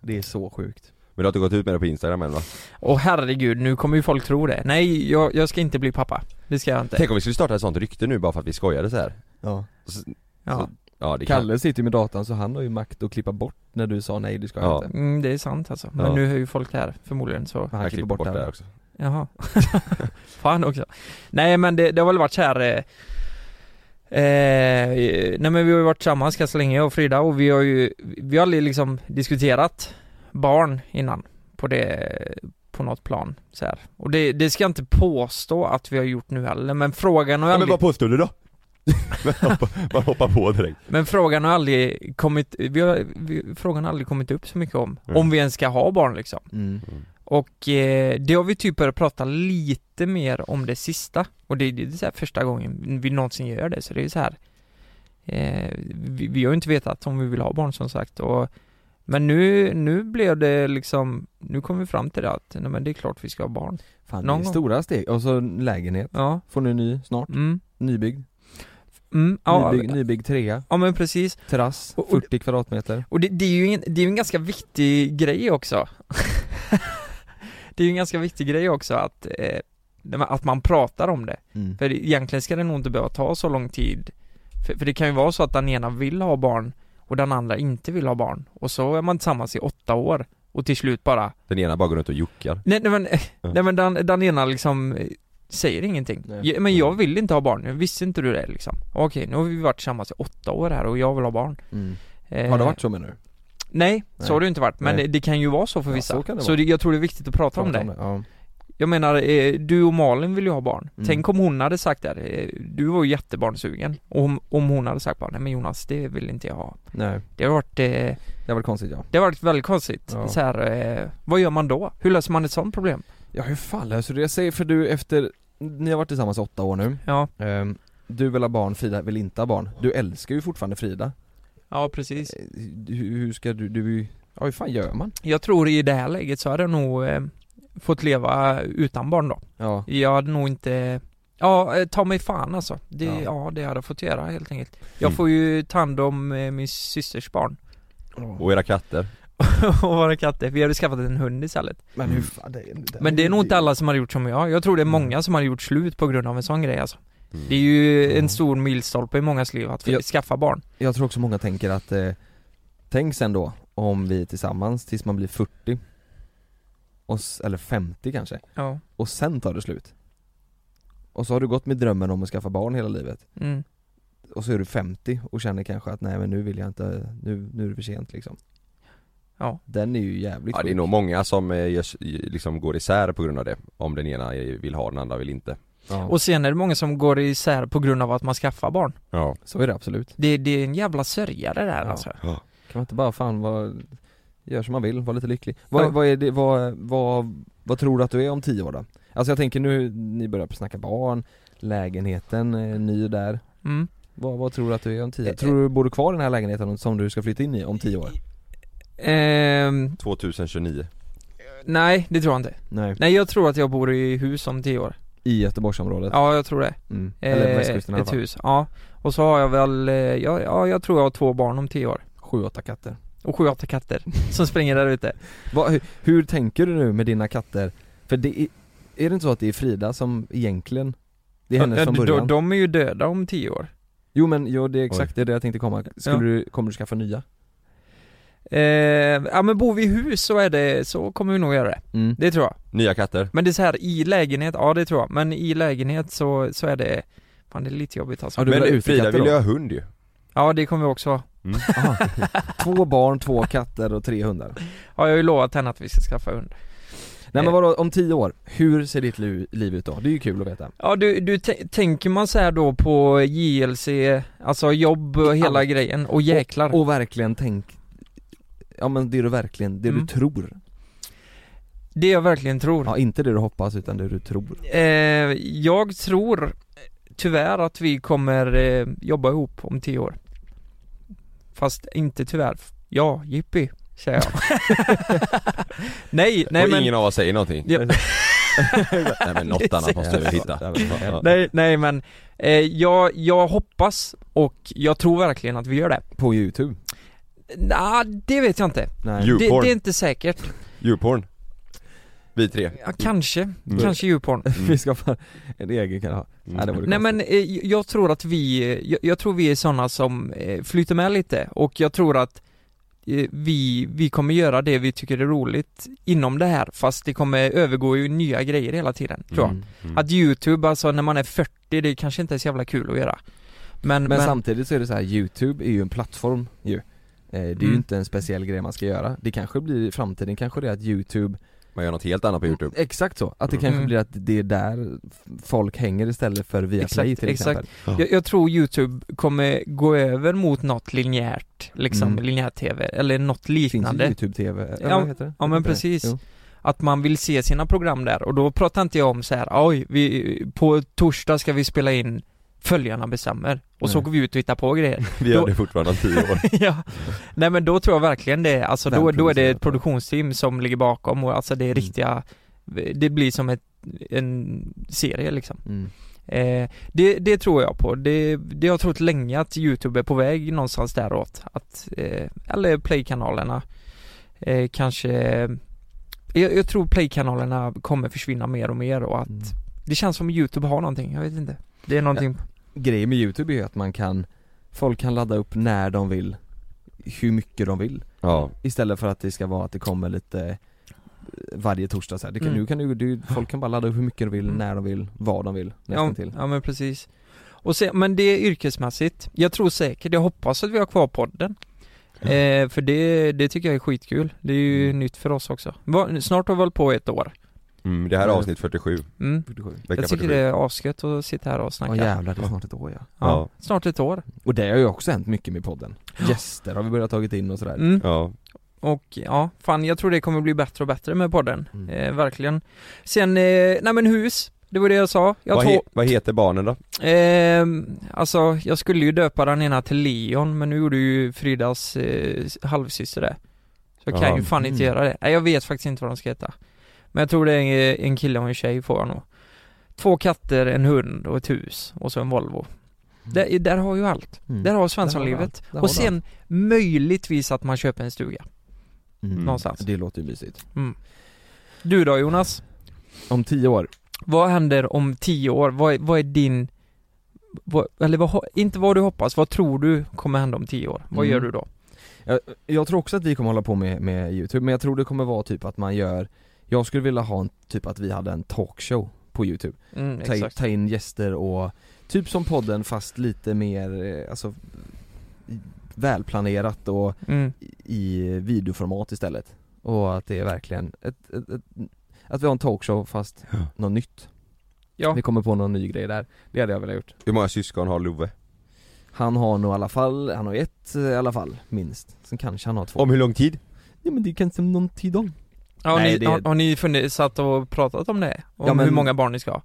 Speaker 1: Det är så sjukt
Speaker 4: Men du har inte gått ut med det på instagram än va?
Speaker 2: Åh herregud, nu kommer ju folk tro det. Nej, jag, jag ska inte bli pappa. Det ska jag inte.
Speaker 4: Tänk om vi skulle starta ett sånt rykte nu bara för att vi skojade så här.
Speaker 1: Ja
Speaker 2: Ja.
Speaker 4: Ja det kan
Speaker 1: Kalle sitter ju med datan så han har ju makt att klippa bort när du sa nej, det ska jag
Speaker 4: Ja.
Speaker 1: inte
Speaker 2: Mm, det är sant alltså. Men
Speaker 4: Ja.
Speaker 2: nu hör ju folk det här förmodligen så
Speaker 1: Men han klipper bort, det här
Speaker 4: också
Speaker 2: Jaha. Fan också. Nej men det, det har väl varit så här. Eh, eh, nej men vi har ju varit tillsammans ganska länge jag och Frida och vi har ju, vi har aldrig liksom diskuterat barn innan på det, på något plan så här. Och det, det ska jag inte påstå att vi har gjort nu heller men frågan har
Speaker 4: Ja men
Speaker 2: aldrig,
Speaker 4: vad påstår du då? Man hoppar- man hoppar på direkt
Speaker 2: men frågan har aldrig kommit, vi har, vi, frågan har aldrig kommit upp så mycket om,
Speaker 4: Mm.
Speaker 2: om vi ens ska ha barn liksom.
Speaker 1: mm.
Speaker 2: Och eh, det har vi typ börjat prata lite mer om det sista Och det, det är så här första gången vi någonsin gör det så det är så här eh, vi, vi har ju inte vetat om vi vill ha barn som sagt och Men nu, nu blev det liksom Nu kom vi fram till det att nej, men det är klart vi ska ha barn
Speaker 1: Fan
Speaker 2: Någon
Speaker 1: det är
Speaker 2: gång.
Speaker 1: stora steg, och så lägenhet,
Speaker 2: Ja,
Speaker 1: får ni ny snart?
Speaker 2: mm,
Speaker 1: Nybyggd?
Speaker 2: mm, ja,
Speaker 1: Nybyggd, nybyggd trea,
Speaker 2: ja men precis
Speaker 1: terrass,
Speaker 2: Och- och-
Speaker 1: 40 kvadratmeter
Speaker 2: Och det, det är ju en, det är ju en ganska viktig grej också Det är ju en ganska viktig grej också att, eh, nej, men att man pratar om det
Speaker 1: mm.
Speaker 2: För egentligen ska det nog inte behöva ta så lång tid för, för det kan ju vara så att den ena vill ha barn och den andra inte vill ha barn Och så är man tillsammans i åtta år och till slut bara
Speaker 4: Den ena bara går runt och juckar
Speaker 2: Nej, nej men,
Speaker 4: Ja.
Speaker 2: nej, men den, den ena liksom eh, säger ingenting
Speaker 1: Nej.
Speaker 2: "Ja, Men jag vill inte ha barn, visste inte du det liksom? Okej, nu har vi varit tillsammans i åtta år här och jag vill ha barn
Speaker 1: Mm.
Speaker 2: Eh,
Speaker 1: Har det varit så menar du?
Speaker 2: Nej,
Speaker 1: Nej.
Speaker 2: så har det ju inte varit, men
Speaker 1: Nej.
Speaker 2: det, det kan ju vara så för
Speaker 1: Ja,
Speaker 2: vissa
Speaker 1: så kan det
Speaker 2: så
Speaker 1: vara.
Speaker 2: det, jag tror det är viktigt att prata om det
Speaker 1: Ja.
Speaker 2: Jag menar, eh, du och Malin vill ju ha barn.
Speaker 1: Mm.
Speaker 2: Tänk om hon hade sagt där, eh, du var ju jättebarnsugen. Om, om hon hade sagt bara, nej men Jonas det vill inte jag ha.
Speaker 1: Nej,
Speaker 2: Det har varit, eh,
Speaker 1: det var konstigt ja
Speaker 2: det har varit väldigt konstigt.
Speaker 1: Ja.
Speaker 2: Så här, eh, vad gör man då? Hur löser man ett sånt problem?
Speaker 1: Ja hur fan löser du det? Jag säger för du efter, ni har varit tillsammans i åtta år nu
Speaker 2: Ja,
Speaker 1: Ehm, Du vill ha barn, Frida vill inte ha barn. Du älskar ju fortfarande Frida
Speaker 2: ja precis.
Speaker 1: Eh, Hur hur ska du, du, är ju- ja hur fan gör man?
Speaker 2: Jag tror i det här läget så hade jag nog eh, fått leva utan barn då.
Speaker 1: Ja,
Speaker 2: Jag hade nog inte Ja, eh, ta mig fan alltså. Det,
Speaker 1: Ja.
Speaker 2: ja. det hade jag fått göra helt enkelt. Jag
Speaker 4: Mm.
Speaker 2: får ju ta hand om eh, min systers barn
Speaker 1: Oh,
Speaker 4: Och era katter
Speaker 2: och våra katter. Vi hade skaffat en hund istället.
Speaker 1: men hur fan det är, Mm. det
Speaker 2: Men det är nog inte alla som har gjort som jag. Jag tror det är många som har gjort slut på grund av en sån grej alltså.
Speaker 1: Mm.
Speaker 2: Det är ju en stor milstolpe i mångas liv att
Speaker 1: Ja.
Speaker 2: skaffa barn.
Speaker 1: Jag tror också många tänker att, eh, tänk sen då om vi är tillsammans tills man blir 40 och, s- Eller 50 kanske,
Speaker 2: Ja.
Speaker 1: och sen tar det slut Och så har du gått med drömmen om att skaffa barn hela livet
Speaker 2: Mm.
Speaker 1: Och så är du 50 och känner kanske att nej men nu vill jag inte, nu, nu är det för sent liksom
Speaker 2: Ja.
Speaker 1: Den är ju jävligt
Speaker 4: Ja det är
Speaker 1: sjuk.
Speaker 4: nog många som eh, görs, liksom går isär på grund av det Om den ena eh, vill ha den andra vill inte
Speaker 1: Ja.
Speaker 2: Och sen är det många som går isär på grund av att man skaffar barn.
Speaker 4: Ja
Speaker 1: Så är det absolut.
Speaker 2: Det, det är en jävla sörjare där
Speaker 1: Ja.
Speaker 2: alltså.
Speaker 1: Kan man inte bara fan vad, gör som man vill, var lite lycklig. Vad,
Speaker 2: Ja.
Speaker 1: vad, är det, vad, vad, vad tror du att du är om tio år då? Alltså jag tänker nu, ni börjar snacka barn, lägenheten är ny där.
Speaker 2: Mm.
Speaker 1: Vad, vad tror du att du är om tio år?
Speaker 2: Eh,
Speaker 1: Tror du bor du kvar i den här lägenheten som du ska flytta in i om tio år?
Speaker 2: Eh, Ehm,
Speaker 4: 2029
Speaker 2: nej, det tror jag inte.
Speaker 1: Nej,
Speaker 2: Nej, jag tror att jag bor i hus om tio år.
Speaker 1: i Göteborgsområdet?
Speaker 2: Ja, jag tror det.
Speaker 1: Mm. Eller på
Speaker 2: Eh,
Speaker 1: västkusten i alla
Speaker 2: ett
Speaker 1: fall.
Speaker 2: hus, ja. Och så har jag väl, eh, ja, ja jag tror jag har två barn om tio år.
Speaker 1: Sju, åtta katter.
Speaker 2: Och sju, åtta katter som springer där ute.
Speaker 1: Va, hur, hur tänker du nu med dina katter? För det är, är det inte så att det är Frida som egentligen, det är hennes
Speaker 2: Ja,
Speaker 1: från
Speaker 2: de-
Speaker 1: början?
Speaker 2: De är ju döda om tio år.
Speaker 1: Jo men jo, det är exakt det jag tänkte komma, Skulle
Speaker 2: Ja.
Speaker 1: du, kommer du skaffa nya?
Speaker 2: Eh, ja men bor vi i hus så är det, så kommer vi nog göra det.
Speaker 1: Mm.
Speaker 2: Det tror jag.
Speaker 4: Nya katter
Speaker 2: Men det är så här i lägenhet, ja det tror jag. Men i lägenhet så, så är det, fan det är lite jobbigt alltså.
Speaker 1: Ja, du vill ha
Speaker 4: Men Frida
Speaker 1: utekatter
Speaker 4: vill
Speaker 1: då? Mm.
Speaker 4: ju ha hund ju
Speaker 2: Ja det kommer vi också ha.
Speaker 1: Aha. Två barn, två katter och tre hundar.
Speaker 2: Ja jag har ju lovat henne att vi ska skaffa hund.
Speaker 1: Nej men vadå, om tio år, hur ser ditt lu- liv ut då? Det är ju kul att veta.
Speaker 2: Ja du, du t- tänker man så här då på JLC, alltså jobb och hela
Speaker 1: Allt.
Speaker 2: grejen, och jäklar.
Speaker 1: Och verkligen tänk, ja men det du verkligen, det du
Speaker 2: Mm.
Speaker 1: tror.
Speaker 2: Det jag verkligen tror.
Speaker 1: Ja inte det du hoppas utan det du tror.
Speaker 2: Eh, jag tror eh, tyvärr att vi kommer eh, jobba ihop om tio år. Fast inte tyvärr. Ja, jippi, säger jag. nej, nej
Speaker 4: Och
Speaker 2: men,
Speaker 4: ingen av oss säger någonting
Speaker 2: Ja.
Speaker 4: Nej men något annat måste vi hitta
Speaker 2: nej, nej men, eh, jag, jag hoppas och jag tror verkligen att vi gör det.
Speaker 1: På youtube?
Speaker 2: Nej, det vet jag inte.
Speaker 1: Nej.
Speaker 2: Det, det är
Speaker 4: Djurporn,
Speaker 2: inte säkert.
Speaker 4: djurporn Vi tre
Speaker 2: Ja, kanske,
Speaker 1: Mm.
Speaker 2: kanske djurporn.
Speaker 1: Vi skaffar en egen kan ha. Nej Mm. det vore
Speaker 2: Nej
Speaker 1: konstigt.
Speaker 2: men eh, jag tror att vi, eh, jag, jag tror vi är sådana som eh, flyter med lite och jag tror att eh, vi, vi kommer göra det vi tycker är roligt inom det här fast det kommer övergå i nya grejer hela tiden tror jag.
Speaker 1: Mm.
Speaker 2: Att youtube alltså när man är 40 det kanske inte är så jävla kul att göra. Men,
Speaker 1: Men,
Speaker 2: men,
Speaker 1: samtidigt så är det så här, youtube är ju en plattform ju. Eh, Det är ju
Speaker 2: Mm.
Speaker 1: inte en speciell grej man ska göra. Det kanske blir i framtiden kanske det är att youtube
Speaker 4: Man gör något helt annat på youtube
Speaker 1: Exakt så, att det
Speaker 4: Mm.
Speaker 1: kanske
Speaker 2: Mm.
Speaker 1: blir att det är där folk hänger istället för via
Speaker 2: Exakt,
Speaker 1: play till
Speaker 2: exakt.
Speaker 1: exempel
Speaker 2: jag, jag tror youtube kommer gå över mot något linjärt, liksom
Speaker 1: Mm.
Speaker 2: linjär tv eller något
Speaker 1: Finns
Speaker 2: liknande.
Speaker 1: ju youtube-tv,
Speaker 2: Ja,
Speaker 1: heter det?
Speaker 2: ja, men precis.
Speaker 1: Jo.
Speaker 2: att man vill se sina program där och då pratar inte jag om så här, oj, vi, på torsdag ska vi spela in Följarna bestämmer och så
Speaker 1: Nej.
Speaker 2: går vi ut och hittar på grejer.
Speaker 4: Vi gör det fortfarande om tio år
Speaker 2: ja. Nej men då tror jag verkligen det, alltså då, då är det
Speaker 1: Välproducerat,
Speaker 2: ett
Speaker 1: ja.
Speaker 2: produktionsteam som ligger bakom och alltså det är
Speaker 1: Mm.
Speaker 2: riktiga, det blir som ett, en serie liksom.
Speaker 1: Mm.
Speaker 2: Eh, det, det tror jag på, det, det har jag trott länge att Youtube är på väg någonstans däråt, att, eh, eller Play-kanalerna eh, kanske jag, jag tror Play-kanalerna kommer försvinna mer och mer och att
Speaker 1: Mm.
Speaker 2: det känns som Youtube har någonting, jag vet inte Det är någonting,
Speaker 1: Grejen med youtube är ju att man kan, folk kan ladda upp när de vill, hur mycket de vill
Speaker 4: Ja,
Speaker 1: Istället för att det ska vara att det kommer lite eh, varje torsdag så här. Det kan,
Speaker 2: Mm.
Speaker 1: nu kan du, du, folk kan bara ladda upp hur mycket de vill,
Speaker 2: Mm.
Speaker 1: när de vill, vad de vill,
Speaker 2: ja,
Speaker 1: nästan till
Speaker 2: ja men precis och se, Men det är yrkesmässigt, jag tror säkert, jag hoppas att vi har kvar podden eh, För det, det tycker jag är skitkul, det är ju
Speaker 1: Mm.
Speaker 2: nytt för oss också Va, Snart har vi hållit på i ett år
Speaker 4: mm, det här är avsnitt 47,
Speaker 2: mm.
Speaker 4: vecka
Speaker 2: Jag
Speaker 4: 47
Speaker 2: tycker det är asgött att sitta här och
Speaker 1: Ja
Speaker 2: snacka
Speaker 1: jävlar, det är snart ett år ja
Speaker 2: Ja, Snart ett år
Speaker 1: Och det har ju också hänt mycket med podden Gäster har vi börjat tagit in och sådär
Speaker 2: mm.
Speaker 4: Ja,
Speaker 2: Och ja, fan jag tror det kommer bli bättre och bättre med podden,
Speaker 1: Mm.
Speaker 2: eh, verkligen Sen, eh, nej men hus, det var det jag sa jag
Speaker 4: vad,
Speaker 2: tror-
Speaker 4: he- vad heter barnen då?
Speaker 2: Ehm, alltså jag skulle ju döpa den ena till Leon men nu gjorde ju Fridas eh, halvsyster det Så jag kan
Speaker 4: Ja.
Speaker 2: ju fan inte
Speaker 1: Mm.
Speaker 2: göra det, nej jag vet faktiskt inte vad de ska heta Men jag tror det är en, en kille och en tjej får jag nog Två katter, en hund och ett hus och så en Volvo
Speaker 4: Mm.
Speaker 2: Där, där har ju allt,
Speaker 1: Mm.
Speaker 2: där har
Speaker 1: Där har
Speaker 2: Svenssonlivet
Speaker 1: allt. Där har
Speaker 2: Och sen möjligtvis att man köper en stuga
Speaker 1: Mm.
Speaker 2: någonstans
Speaker 1: Det låter ju mysigt.
Speaker 2: Du då Jonas?
Speaker 1: Om tio år,
Speaker 2: Vad händer om tio år? Vad, är- vad är din... Vad, eller vad, ho- inte vad du hoppas, vad tror du kommer hända om tio år? Vad
Speaker 1: Mm.
Speaker 2: gör du då?
Speaker 1: jag, jag tror också att vi kommer hålla på med, med youtube, men jag tror det kommer vara typ att man gör Jag skulle vilja ha en, typ att vi hade en talkshow på youtube
Speaker 2: Mm,
Speaker 1: ta, in-
Speaker 2: exakt.
Speaker 1: ta in gäster och, typ som podden fast lite mer, eh, alltså i- Välplanerat och
Speaker 2: Mm.
Speaker 1: i i videoformat istället Och att det är verkligen ett, ett, ett, Att vi har en talkshow fast
Speaker 4: Ja.
Speaker 1: något nytt
Speaker 2: Ja.
Speaker 1: Vi kommer på någon ny grej där, det hade jag velat gjort
Speaker 4: Hur många syskon har Love?
Speaker 1: Han har nog i alla fall, han har ett eh, i alla fall, minst Sen kanske han har två
Speaker 4: Om hur lång tid?
Speaker 1: Ja men det kan inte någon tid om
Speaker 2: Har,
Speaker 1: Nej,
Speaker 2: ni,
Speaker 1: det-
Speaker 2: har, har ni funnit, satt och pratat om det? Om
Speaker 1: Ja, men-
Speaker 2: hur många barn ni ska ha?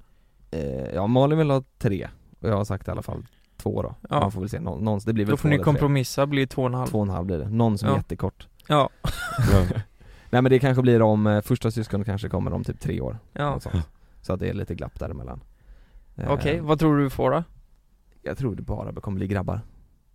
Speaker 1: eh, Ja Malin vill ha tre och jag har sagt i alla fall två då
Speaker 2: Ja.
Speaker 1: Man får väl se, någon, någon, det blir väl
Speaker 2: Då får
Speaker 1: två
Speaker 2: ni
Speaker 1: eller tre.
Speaker 2: kompromissa, blir två och en halv
Speaker 1: Två och en halv blir det, någon som är
Speaker 2: Ja.
Speaker 1: jättekort
Speaker 2: Ja.
Speaker 1: Nej men det kanske blir om, eh, första syskon kanske kommer om typ tre år
Speaker 2: ja.
Speaker 1: något sånt. Så att det är lite glapp däremellan Eh,
Speaker 2: Okej, vad tror du du får då?
Speaker 1: Jag tror det bara kommer bli grabbar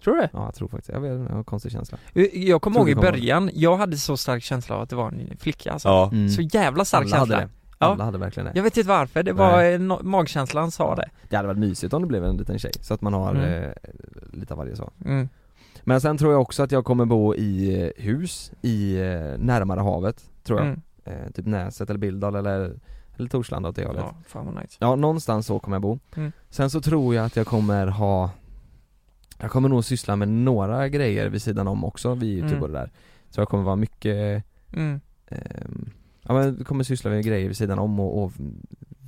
Speaker 2: Tror du det?
Speaker 1: Ja jag tror faktiskt, jag, vet, jag har en konstig känsla
Speaker 2: Jag kommer
Speaker 1: Tror
Speaker 2: ihåg
Speaker 1: du
Speaker 2: i
Speaker 1: kommer-
Speaker 2: början, jag hade så stark känsla av att det var en flicka alltså.
Speaker 4: Ja,
Speaker 1: Mm.
Speaker 2: Så jävla stark
Speaker 1: Alla hade
Speaker 2: känsla
Speaker 1: det,
Speaker 2: Ja.
Speaker 1: alla hade verkligen det
Speaker 2: Jag vet inte varför, det var eh, no- magkänslan sa det
Speaker 1: Det hade varit mysigt om det blev en liten tjej, så att man har
Speaker 2: Mm.
Speaker 1: eh, lite av varje sak
Speaker 2: mm.
Speaker 1: Men sen tror jag också att jag kommer bo i eh, hus, i eh, närmare havet, tror jag
Speaker 2: Mm.
Speaker 1: eh, Typ Näset eller Bildal eller, eller Torslanda åt det hållet
Speaker 2: Ja, fan vad nice
Speaker 1: Ja, någonstans så kommer jag bo.
Speaker 2: Mm.
Speaker 1: Sen så tror jag att jag kommer ha Jag kommer nog syssla med några grejer vid sidan om också, vid youtube
Speaker 2: Mm.
Speaker 1: och det där Så jag kommer vara mycket
Speaker 2: mm.
Speaker 1: ehm, Ja men jag kommer syssla med grejer vid sidan om och, och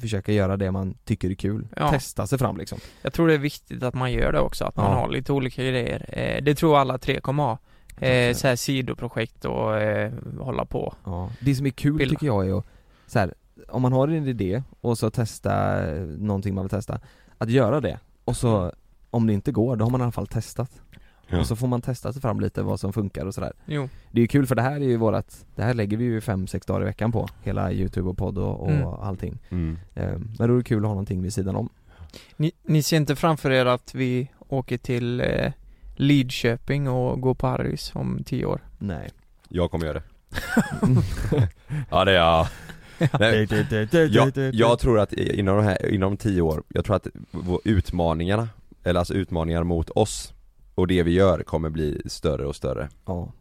Speaker 1: försöka göra det man tycker är kul
Speaker 2: Ja.
Speaker 1: Testa sig fram liksom
Speaker 2: Jag tror det är viktigt att man gör det också, att man
Speaker 1: Ja.
Speaker 2: har lite olika grejer Eh, Det tror jag alla tre kommer ha eh, så här sidoprojekt och eh, hålla på
Speaker 1: ja. Det som är kul
Speaker 2: Bilda.
Speaker 1: tycker jag är att så här, om man har en idé och så testa eh, någonting man vill testa Att göra det och så om det inte går, då har man i alla fall testat
Speaker 4: Ja.
Speaker 1: Och så får man testa sig fram lite vad som funkar och sådär
Speaker 2: Jo,
Speaker 1: Det är ju kul för det här är ju vårat, det här lägger vi ju 5-6 dagar i veckan på Hela youtube och podd och, och
Speaker 2: Mm.
Speaker 1: allting
Speaker 4: mm.
Speaker 1: eh, Men då är det kul att ha någonting vid sidan om
Speaker 2: ni, ni ser inte framför er att vi åker till eh, Lidköping och går på Harrys om tio år?
Speaker 1: Nej
Speaker 4: jag kommer göra det Ja det är jag Nej, jag, jag tror att i- inom, de här, inom tio år, jag tror att vår- utmaningarna, eller alltså utmaningar mot oss och det vi gör kommer bli större och större
Speaker 1: Ja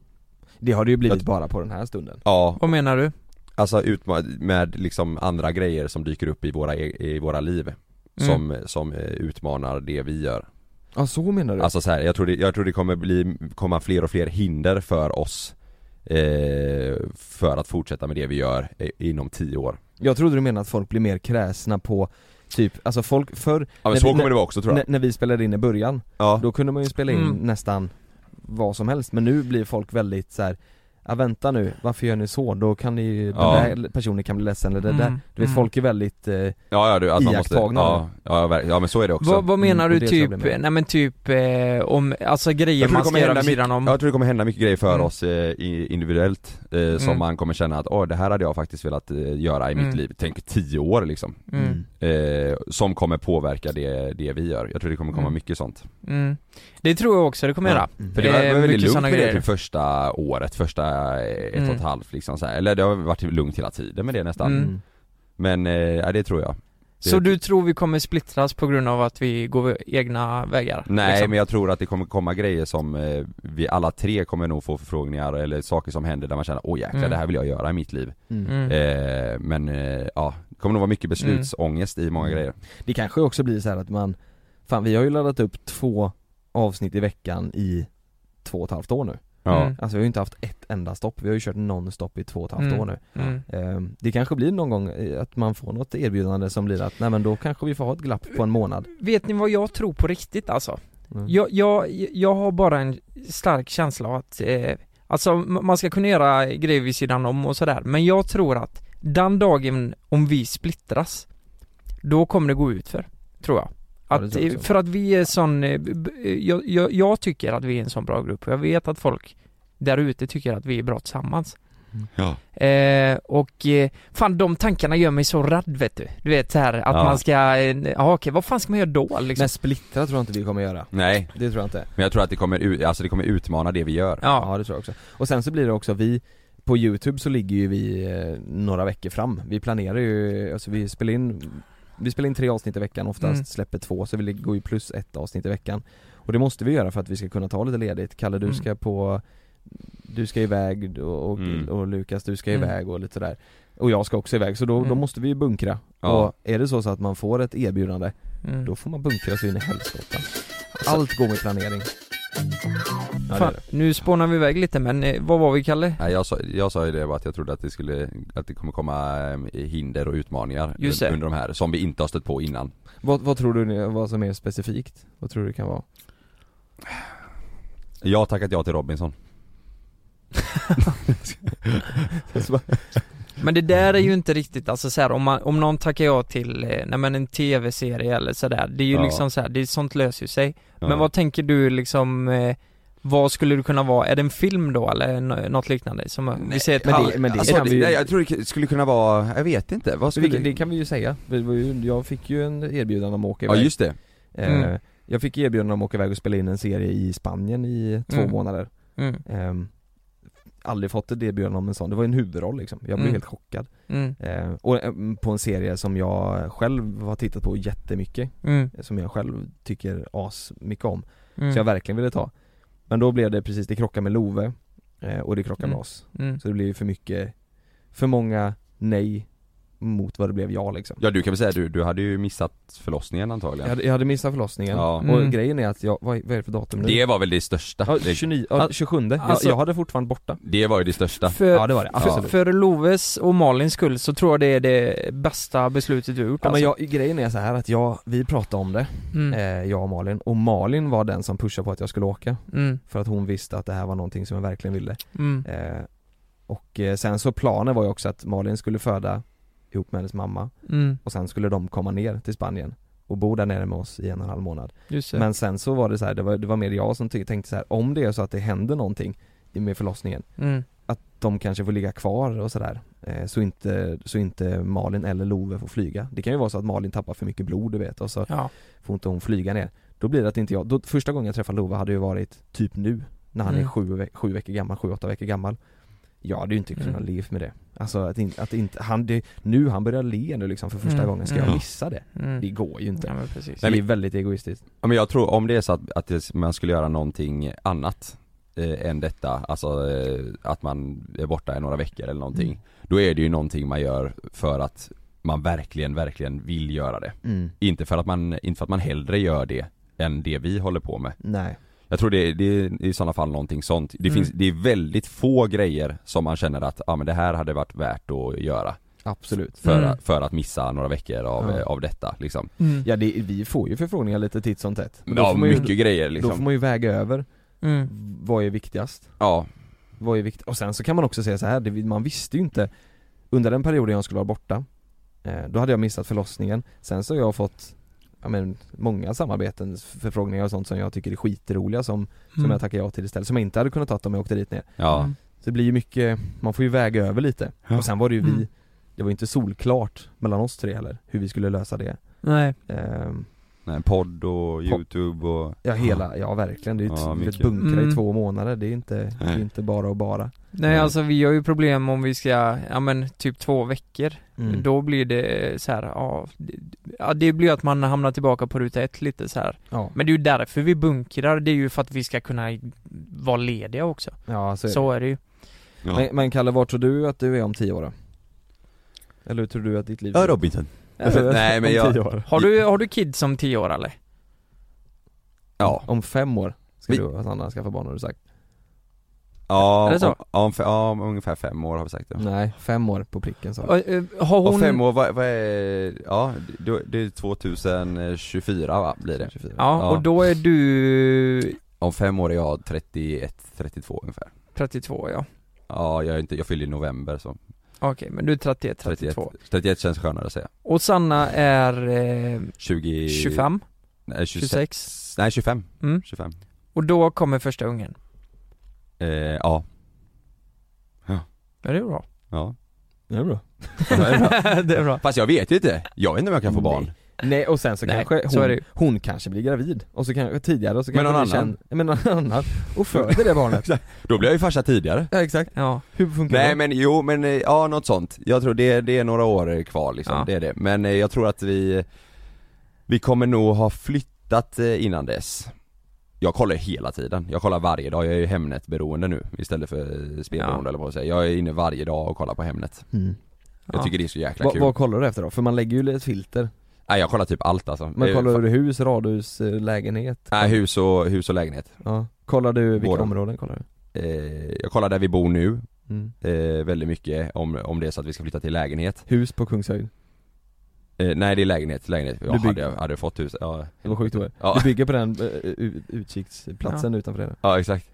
Speaker 1: Det har det ju blivit
Speaker 4: Jag-
Speaker 1: bara på den här stunden
Speaker 4: Ja,
Speaker 2: Vad menar du? Mm.
Speaker 4: alltså utma- med liksom andra grejer som dyker upp i våra, e- i våra liv som, som eh, utmanar det vi gör
Speaker 1: Ja så menar du?
Speaker 4: Alltså så här, jag tror det, jag tror det kommer bli, komma fler och fler hinder för oss eh, För att fortsätta med det vi gör eh, inom tio år
Speaker 1: jag trodde du menade att folk blir mer kräsna på typ, alltså folk förr
Speaker 4: Ja men
Speaker 1: När
Speaker 4: så
Speaker 1: vi-
Speaker 4: kommer
Speaker 1: när-
Speaker 4: det vara också tror
Speaker 1: när,
Speaker 4: jag
Speaker 1: när vi spelade in i början,
Speaker 4: Ja,
Speaker 1: då kunde man ju spela in
Speaker 2: Mm.
Speaker 1: nästan vad som helst men nu blir folk väldigt så här. Ja vänta nu, varför gör ni så? Då kan ni, den
Speaker 4: Ja.
Speaker 1: där personen kan bli ledsen eller det där
Speaker 2: Mm,
Speaker 1: Du vet
Speaker 2: mm.
Speaker 1: folk är väldigt eh,
Speaker 4: ja, ja, du, att man måste,
Speaker 1: Iakttagna,
Speaker 4: ja, ja, verk- ja men så är det också
Speaker 2: Vad, vad menar
Speaker 1: Mm, och
Speaker 2: du
Speaker 1: det tror jag
Speaker 2: typ,
Speaker 1: blir med.
Speaker 2: nej men typ eh, om, alltså
Speaker 4: Jag
Speaker 2: grejer
Speaker 4: tror det
Speaker 2: man
Speaker 4: kommer
Speaker 2: ska göra
Speaker 4: hända
Speaker 2: vid sidan om?
Speaker 4: Jag tror det kommer hända mycket grejer för
Speaker 2: Mm.
Speaker 4: oss eh, i- individuellt eh, som
Speaker 2: Mm.
Speaker 4: man kommer känna att åh det här hade jag faktiskt velat eh, göra i mitt
Speaker 2: Mm.
Speaker 4: liv, tänk 10 år liksom
Speaker 2: Mm.
Speaker 4: eh, Som kommer påverka det, det vi gör, jag tror det kommer komma
Speaker 2: Mm.
Speaker 4: mycket sånt
Speaker 2: Mm. Det tror jag också det kommer
Speaker 4: Ja.
Speaker 2: göra.
Speaker 1: Mm.
Speaker 4: För det
Speaker 2: Eh,
Speaker 4: var, det var
Speaker 2: mycket
Speaker 4: väldigt lugnt
Speaker 2: såna
Speaker 4: med det
Speaker 2: grejer.
Speaker 4: typ första året, första eh, ett och
Speaker 2: Mm.
Speaker 4: ett halvt liksom så här. eller det har varit lugnt hela tiden med det nästan
Speaker 2: Mm.
Speaker 4: Men, eh, ja det typ- tror jag
Speaker 2: Så du tror vi kommer splittras på grund av att vi går egna vägar?
Speaker 4: Nej
Speaker 2: liksom?
Speaker 4: men jag tror att det kommer komma grejer som eh, vi alla tre kommer nog få förfrågningar eller saker som händer där man känner åh jäklar
Speaker 2: Mm.
Speaker 4: det här vill jag göra i mitt liv
Speaker 1: Mm.
Speaker 2: Mm.
Speaker 4: Eh, men eh, ja, det kommer nog vara mycket beslutsångest i många
Speaker 1: Mm.
Speaker 4: grejer.
Speaker 1: Det kanske också blir så här att man, fan vi har ju laddat upp två avsnitt i veckan i två och ett halvt år nu
Speaker 4: Ja.
Speaker 2: Mm.
Speaker 1: Alltså vi har ju inte haft ett enda stopp, vi har ju kört nonstop i två och ett halvt
Speaker 2: Mm.
Speaker 1: år nu
Speaker 2: Mm.
Speaker 1: Ehm, Det kanske blir någon gång eh, att man får något erbjudande som blir att, nej men då kanske vi får ha ett glapp på en månad
Speaker 2: Vet ni vad jag tror på riktigt alltså?
Speaker 1: Mm.
Speaker 2: Jag, jag, jag har bara en stark känsla av att, eh, alltså m- man ska kunna göra grejer vid sidan om och sådär, men jag tror att den dagen om vi splittras, då kommer det gå ut för tror jag.
Speaker 1: Ja,
Speaker 2: Att,
Speaker 1: det tror jag
Speaker 2: eh,
Speaker 1: också.
Speaker 2: för att vi är sån, eh, b- b- jag, jag, jag tycker att vi är en sån bra grupp och jag vet att folk där ute tycker att vi är bra tillsammans.
Speaker 1: Mm.
Speaker 4: Ja.
Speaker 2: Eh, och eh, fan de tankarna gör mig så rädd vet du. Du vet så här att
Speaker 4: Ja.
Speaker 2: man ska, eh, ja okej vad fan ska man göra då liksom?
Speaker 1: Men splittra tror jag inte vi kommer göra,
Speaker 4: Nej,
Speaker 1: det tror jag inte
Speaker 4: men jag tror att det kommer, ut- alltså det kommer utmana det vi gör.
Speaker 2: ja.
Speaker 1: Ja det tror jag också. Och sen så blir det också, vi på youtube så ligger ju vi eh, några veckor fram. Vi planerar ju, alltså vi spelar in vi spelar in tre avsnitt i veckan oftast,
Speaker 2: Mm.
Speaker 1: släpper två så vi ligger- går ju plus ett avsnitt i veckan Och det måste vi göra för att vi ska kunna ta lite ledigt, Kalle du
Speaker 2: Mm.
Speaker 1: ska på Du ska iväg och, och,
Speaker 4: Mm.
Speaker 1: och Lukas du ska
Speaker 2: Mm.
Speaker 1: iväg och lite sådär Och jag ska också iväg så då, då
Speaker 2: Mm.
Speaker 1: måste vi ju bunkra
Speaker 4: Ja.
Speaker 1: Och är det så, så att man får ett erbjudande,
Speaker 2: Mm.
Speaker 1: då får man bunkra så in i helskotta Allt går med planering Ja, det är
Speaker 2: Alltså- Fan,
Speaker 1: det.
Speaker 2: nu spånar vi iväg lite men eh, vad var vi Kalle?
Speaker 4: Nej, jag, sa, jag sa ju det bara att jag trodde att det skulle, att det kommer komma eh, hinder och utmaningar
Speaker 2: Just det.
Speaker 4: un- under de här som vi inte har stött på innan.
Speaker 1: Vad, vad tror du ni- vad som är specifikt? Vad tror du det kan vara?
Speaker 4: Jag har tackat ja till Robinson.
Speaker 1: Alltså,
Speaker 2: Men det där är
Speaker 1: Mm.
Speaker 2: ju inte riktigt alltså så här, om, man, om någon tackar ja till, eh, nej men en tv-serie eller sådär, det är ju
Speaker 4: Ja.
Speaker 2: liksom så här, det är sånt löser ju sig.
Speaker 4: Ja.
Speaker 2: Men vad tänker du liksom, eh, Vad skulle det kunna vara? Är det en film då eller nå- något liknande? Som eh, vi ser ett
Speaker 1: men
Speaker 2: halv...
Speaker 1: det- men det
Speaker 4: alltså,
Speaker 1: kan vi ju-
Speaker 4: nej, jag tror det skulle kunna vara, jag vet inte, vad
Speaker 1: Så
Speaker 4: skulle...
Speaker 1: vi, det kan vi ju säga, Vi var ju- jag fick ju en erbjudande om att åka
Speaker 4: ja
Speaker 1: iväg
Speaker 4: just det,
Speaker 1: Eh,
Speaker 2: Mm.
Speaker 1: Jag fick erbjudande om att åka iväg och spela in en serie i Spanien i två
Speaker 2: Mm.
Speaker 1: månader
Speaker 2: Mm,
Speaker 1: Ehm, Aldrig fått ett erbjudande om en sån, det var en huvudroll liksom, jag blev
Speaker 2: Mm.
Speaker 1: helt chockad
Speaker 2: mm,
Speaker 1: Ehm, Och ehm, på en serie som jag själv har tittat på jättemycket
Speaker 2: mm,
Speaker 1: Som jag själv tycker as mycket om,
Speaker 2: mm,
Speaker 1: så jag verkligen ville ta Men då blev det precis, det krockade med Love eh, och det krockade
Speaker 2: Mm.
Speaker 1: med oss
Speaker 2: mm.
Speaker 1: Så det blev ju för mycket, för många nej mot vad det blev jag liksom
Speaker 4: ja du kan väl säga du, du hade ju missat förlossningen
Speaker 1: Jag
Speaker 4: antagligen
Speaker 1: hade, jag hade missat förlossningen
Speaker 4: Ja.
Speaker 1: och
Speaker 2: Mm.
Speaker 1: grejen är att jag, vad, är- vad är det för datum nu?
Speaker 4: Det var väl det största,
Speaker 1: ja,
Speaker 4: det,
Speaker 1: 29, ja,
Speaker 2: Al-
Speaker 1: 27,
Speaker 2: alltså-
Speaker 1: jag, jag hade fortfarande borta
Speaker 4: det var ju det största
Speaker 2: För,
Speaker 1: Ja det var det,
Speaker 2: för,
Speaker 1: absolut
Speaker 2: för Loves och Malins skull så tror jag det är det bästa beslutet du har gjort
Speaker 1: Ja, men
Speaker 2: alltså.
Speaker 1: jag, grejen är så här att jag, vi pratade om det,
Speaker 2: mm,
Speaker 1: eh, jag och Malin, och Malin var den som pushade på att jag skulle åka
Speaker 2: mm,
Speaker 1: För att hon visste att det här var någonting som jag verkligen ville
Speaker 2: mm,
Speaker 1: eh, Och eh, sen så planen var ju också att Malin skulle föda ihop med hennes mamma
Speaker 2: mm,
Speaker 1: och sen skulle de komma ner till Spanien och bo där nere med oss i en och en halv månad
Speaker 2: just det.
Speaker 1: Men sen så var det så här, det var, det var mer jag som ty- tänkte så här, om det är så att det händer någonting i- med förlossningen
Speaker 2: mm,
Speaker 1: att de kanske får ligga kvar och sådär eh, så inte, så inte Malin eller Love får flyga. Det kan ju vara så att Malin tappar för mycket blod du vet och så
Speaker 2: ja,
Speaker 1: får inte hon flyga ner. Då blir det att inte jag, då, första gången jag träffade Love hade ju varit typ nu när han
Speaker 2: Mm.
Speaker 1: är sju, ve- sju veckor gammal, sju, åtta veckor gammal. Jag hade ju inte kunnat
Speaker 2: Mm.
Speaker 1: leva med det. Alltså att, in, att inte, han, det, nu han börjar le nu liksom för första
Speaker 2: Mm.
Speaker 1: gången, ska
Speaker 2: Mm.
Speaker 1: jag missa det?
Speaker 2: mm.
Speaker 1: Det går ju inte.
Speaker 2: Ja, men precis.
Speaker 1: det är väldigt egoistiskt.
Speaker 4: Ja, men jag tror om det är så att, att det, man skulle göra någonting annat eh, än detta, alltså eh, att man är borta i några veckor eller någonting
Speaker 1: Mm.
Speaker 4: Då är det ju någonting man gör för att man verkligen, verkligen vill göra det
Speaker 1: Mm.
Speaker 4: Inte för att man, inte för att man hellre gör det än det vi håller på med
Speaker 1: Nej.
Speaker 4: Jag tror det, det är i sådana fall någonting sånt Det
Speaker 2: Mm.
Speaker 4: finns, det är väldigt få grejer som man känner att, ja ah, men det här hade varit värt att göra
Speaker 1: Absolut.
Speaker 4: För,
Speaker 2: Mm.
Speaker 4: att- för att missa några veckor av,
Speaker 1: Ja.
Speaker 4: eh, av detta liksom
Speaker 2: Mm,
Speaker 1: Ja det, vi får ju förfrågningar lite titt som tätt. Men då
Speaker 4: Ja,
Speaker 1: får man ju-
Speaker 4: mycket grejer liksom
Speaker 1: Då får man ju väga över,
Speaker 2: mm,
Speaker 1: vad är viktigast?
Speaker 4: Ja,
Speaker 1: Vad är vikt Och sen så kan man också säga så här, det, man visste ju inte Under den perioden jag skulle vara borta eh, Då hade jag missat förlossningen Sen så har jag fått Ja men många samarbeten, förfrågningar och sånt som jag tycker är skitroliga som, som
Speaker 2: mm.
Speaker 1: jag tackar ja till istället Som jag inte hade kunnat ta om jag åkte dit ner
Speaker 4: ja
Speaker 2: Mm.
Speaker 1: Så det blir ju mycket, man får ju väga över lite
Speaker 4: Ja.
Speaker 1: Och sen var det ju
Speaker 2: Mm.
Speaker 1: vi Det var ju inte solklart mellan oss tre heller hur vi skulle lösa det
Speaker 2: Nej,
Speaker 1: Ehm,
Speaker 4: Nej, podd och youtube och...
Speaker 1: Ja hela, ja verkligen, det är ju
Speaker 4: Ja,
Speaker 1: ja,
Speaker 4: mycket.
Speaker 1: bunkra
Speaker 2: Mm.
Speaker 1: i två månader, det är inte, det är
Speaker 4: Nej.
Speaker 1: inte bara och bara
Speaker 2: nej
Speaker 4: Mm.
Speaker 2: alltså vi har ju problem om vi ska, ja men typ två veckor
Speaker 1: Mm.
Speaker 2: Då blir det så här, ja, det- ja det blir ju att man hamnar tillbaka på ruta ett lite så här.
Speaker 1: Ja,
Speaker 2: Men det är ju därför vi bunkrar, det är ju för att vi ska kunna vara lediga också
Speaker 1: ja alltså, så är det.
Speaker 2: Så är det ju
Speaker 1: Men, men Kalle, vart tror du att du är om tio år då? Eller hur tror du att ditt liv
Speaker 4: Ja, Robinson. Nej, men
Speaker 1: om
Speaker 4: jag-
Speaker 1: tio år?
Speaker 2: Har du, har du kids som tio år eller?
Speaker 4: Ja.
Speaker 1: Om fem år ska
Speaker 4: Vi-
Speaker 1: du att Anna skaffar barn har du sagt?
Speaker 4: Ja,
Speaker 2: Är det så?
Speaker 4: Om, om, fe- ja, om ungefär fem år har vi sagt det.
Speaker 1: Nej, fem år på pricken sa du
Speaker 2: Ja, eh, Har
Speaker 4: Och fem
Speaker 2: hon...
Speaker 4: år, vad, vad är, ja det, det är 2024 va, blir det?
Speaker 1: 24.
Speaker 2: Ja, och
Speaker 4: Ja.
Speaker 2: då är du
Speaker 4: Om fem år är jag 31, 32 ungefär
Speaker 2: 32 ja
Speaker 4: Ja, jag är inte, jag fyller i november så
Speaker 2: Okej, men du är 31, 32
Speaker 4: 31, 31 känns skönare att säga
Speaker 2: Och Sanna är eh,
Speaker 4: 20
Speaker 2: 25,
Speaker 4: Nej, 26,
Speaker 2: 26
Speaker 4: Nej 25,
Speaker 2: Mm.
Speaker 4: 25
Speaker 2: Och då kommer första ungen
Speaker 4: eh, Ja,
Speaker 2: Ja det är bra
Speaker 4: ja
Speaker 1: Det är bra
Speaker 2: Det är bra
Speaker 4: Fast jag vet ju inte, jag vet inte om jag kan få barn
Speaker 1: Nej och sen så
Speaker 2: Nej,
Speaker 1: kanske hon,
Speaker 2: så är det ju.
Speaker 1: hon kanske blir gravid, och så kanske tidigare och så
Speaker 4: Med
Speaker 1: kanske
Speaker 4: någon
Speaker 1: blir
Speaker 4: annan.
Speaker 1: känd- med någon annan och föder det barnet
Speaker 4: Då blir jag ju farsa tidigare
Speaker 1: Ja exakt,
Speaker 2: Ja,
Speaker 1: hur funkar
Speaker 4: Nej
Speaker 1: det?
Speaker 4: men jo, men eh, ja något sånt. Jag tror det, det är några år kvar liksom,
Speaker 2: Ja.
Speaker 4: det är det. Men eh, jag tror att vi, vi kommer nog ha flyttat eh, innan dess. Jag kollar hela tiden, jag kollar varje dag, jag är ju Hemnet-beroende nu istället för eh, spelberoende
Speaker 2: Ja.
Speaker 4: eller vad jag säger. Jag är inne varje dag och kollar på Hemnet.
Speaker 1: Mm.
Speaker 4: Jag
Speaker 2: Ja.
Speaker 4: tycker det är så jäkla
Speaker 1: Vad
Speaker 4: kul.
Speaker 1: vad kollar du efter då? För man lägger ju ett filter,
Speaker 4: Nej jag kollar typ allt alltså.
Speaker 1: man
Speaker 4: Eh,
Speaker 1: kollar
Speaker 4: fa-
Speaker 1: du hus, radhus, eh, lägenhet?
Speaker 4: Nej hus och, hus och lägenhet.
Speaker 1: Ja. Kollar du vilka
Speaker 4: Båda.
Speaker 1: områden kollar du?
Speaker 4: Eh, jag kollar där vi bor nu,
Speaker 1: Mm.
Speaker 4: eh, väldigt mycket om, om det är så att vi ska flytta till lägenhet.
Speaker 1: Hus på Kungshöjd?
Speaker 4: Eh, nej det är lägenhet, lägenhet. Jag
Speaker 1: bygger-
Speaker 4: hade, jag- hade jag fått hus, ja.
Speaker 1: Det var sjukt det var.
Speaker 4: Ja. Mm.
Speaker 1: Du bygger på den eh, u- utkiksplatsen utanför det.
Speaker 4: Ja exakt.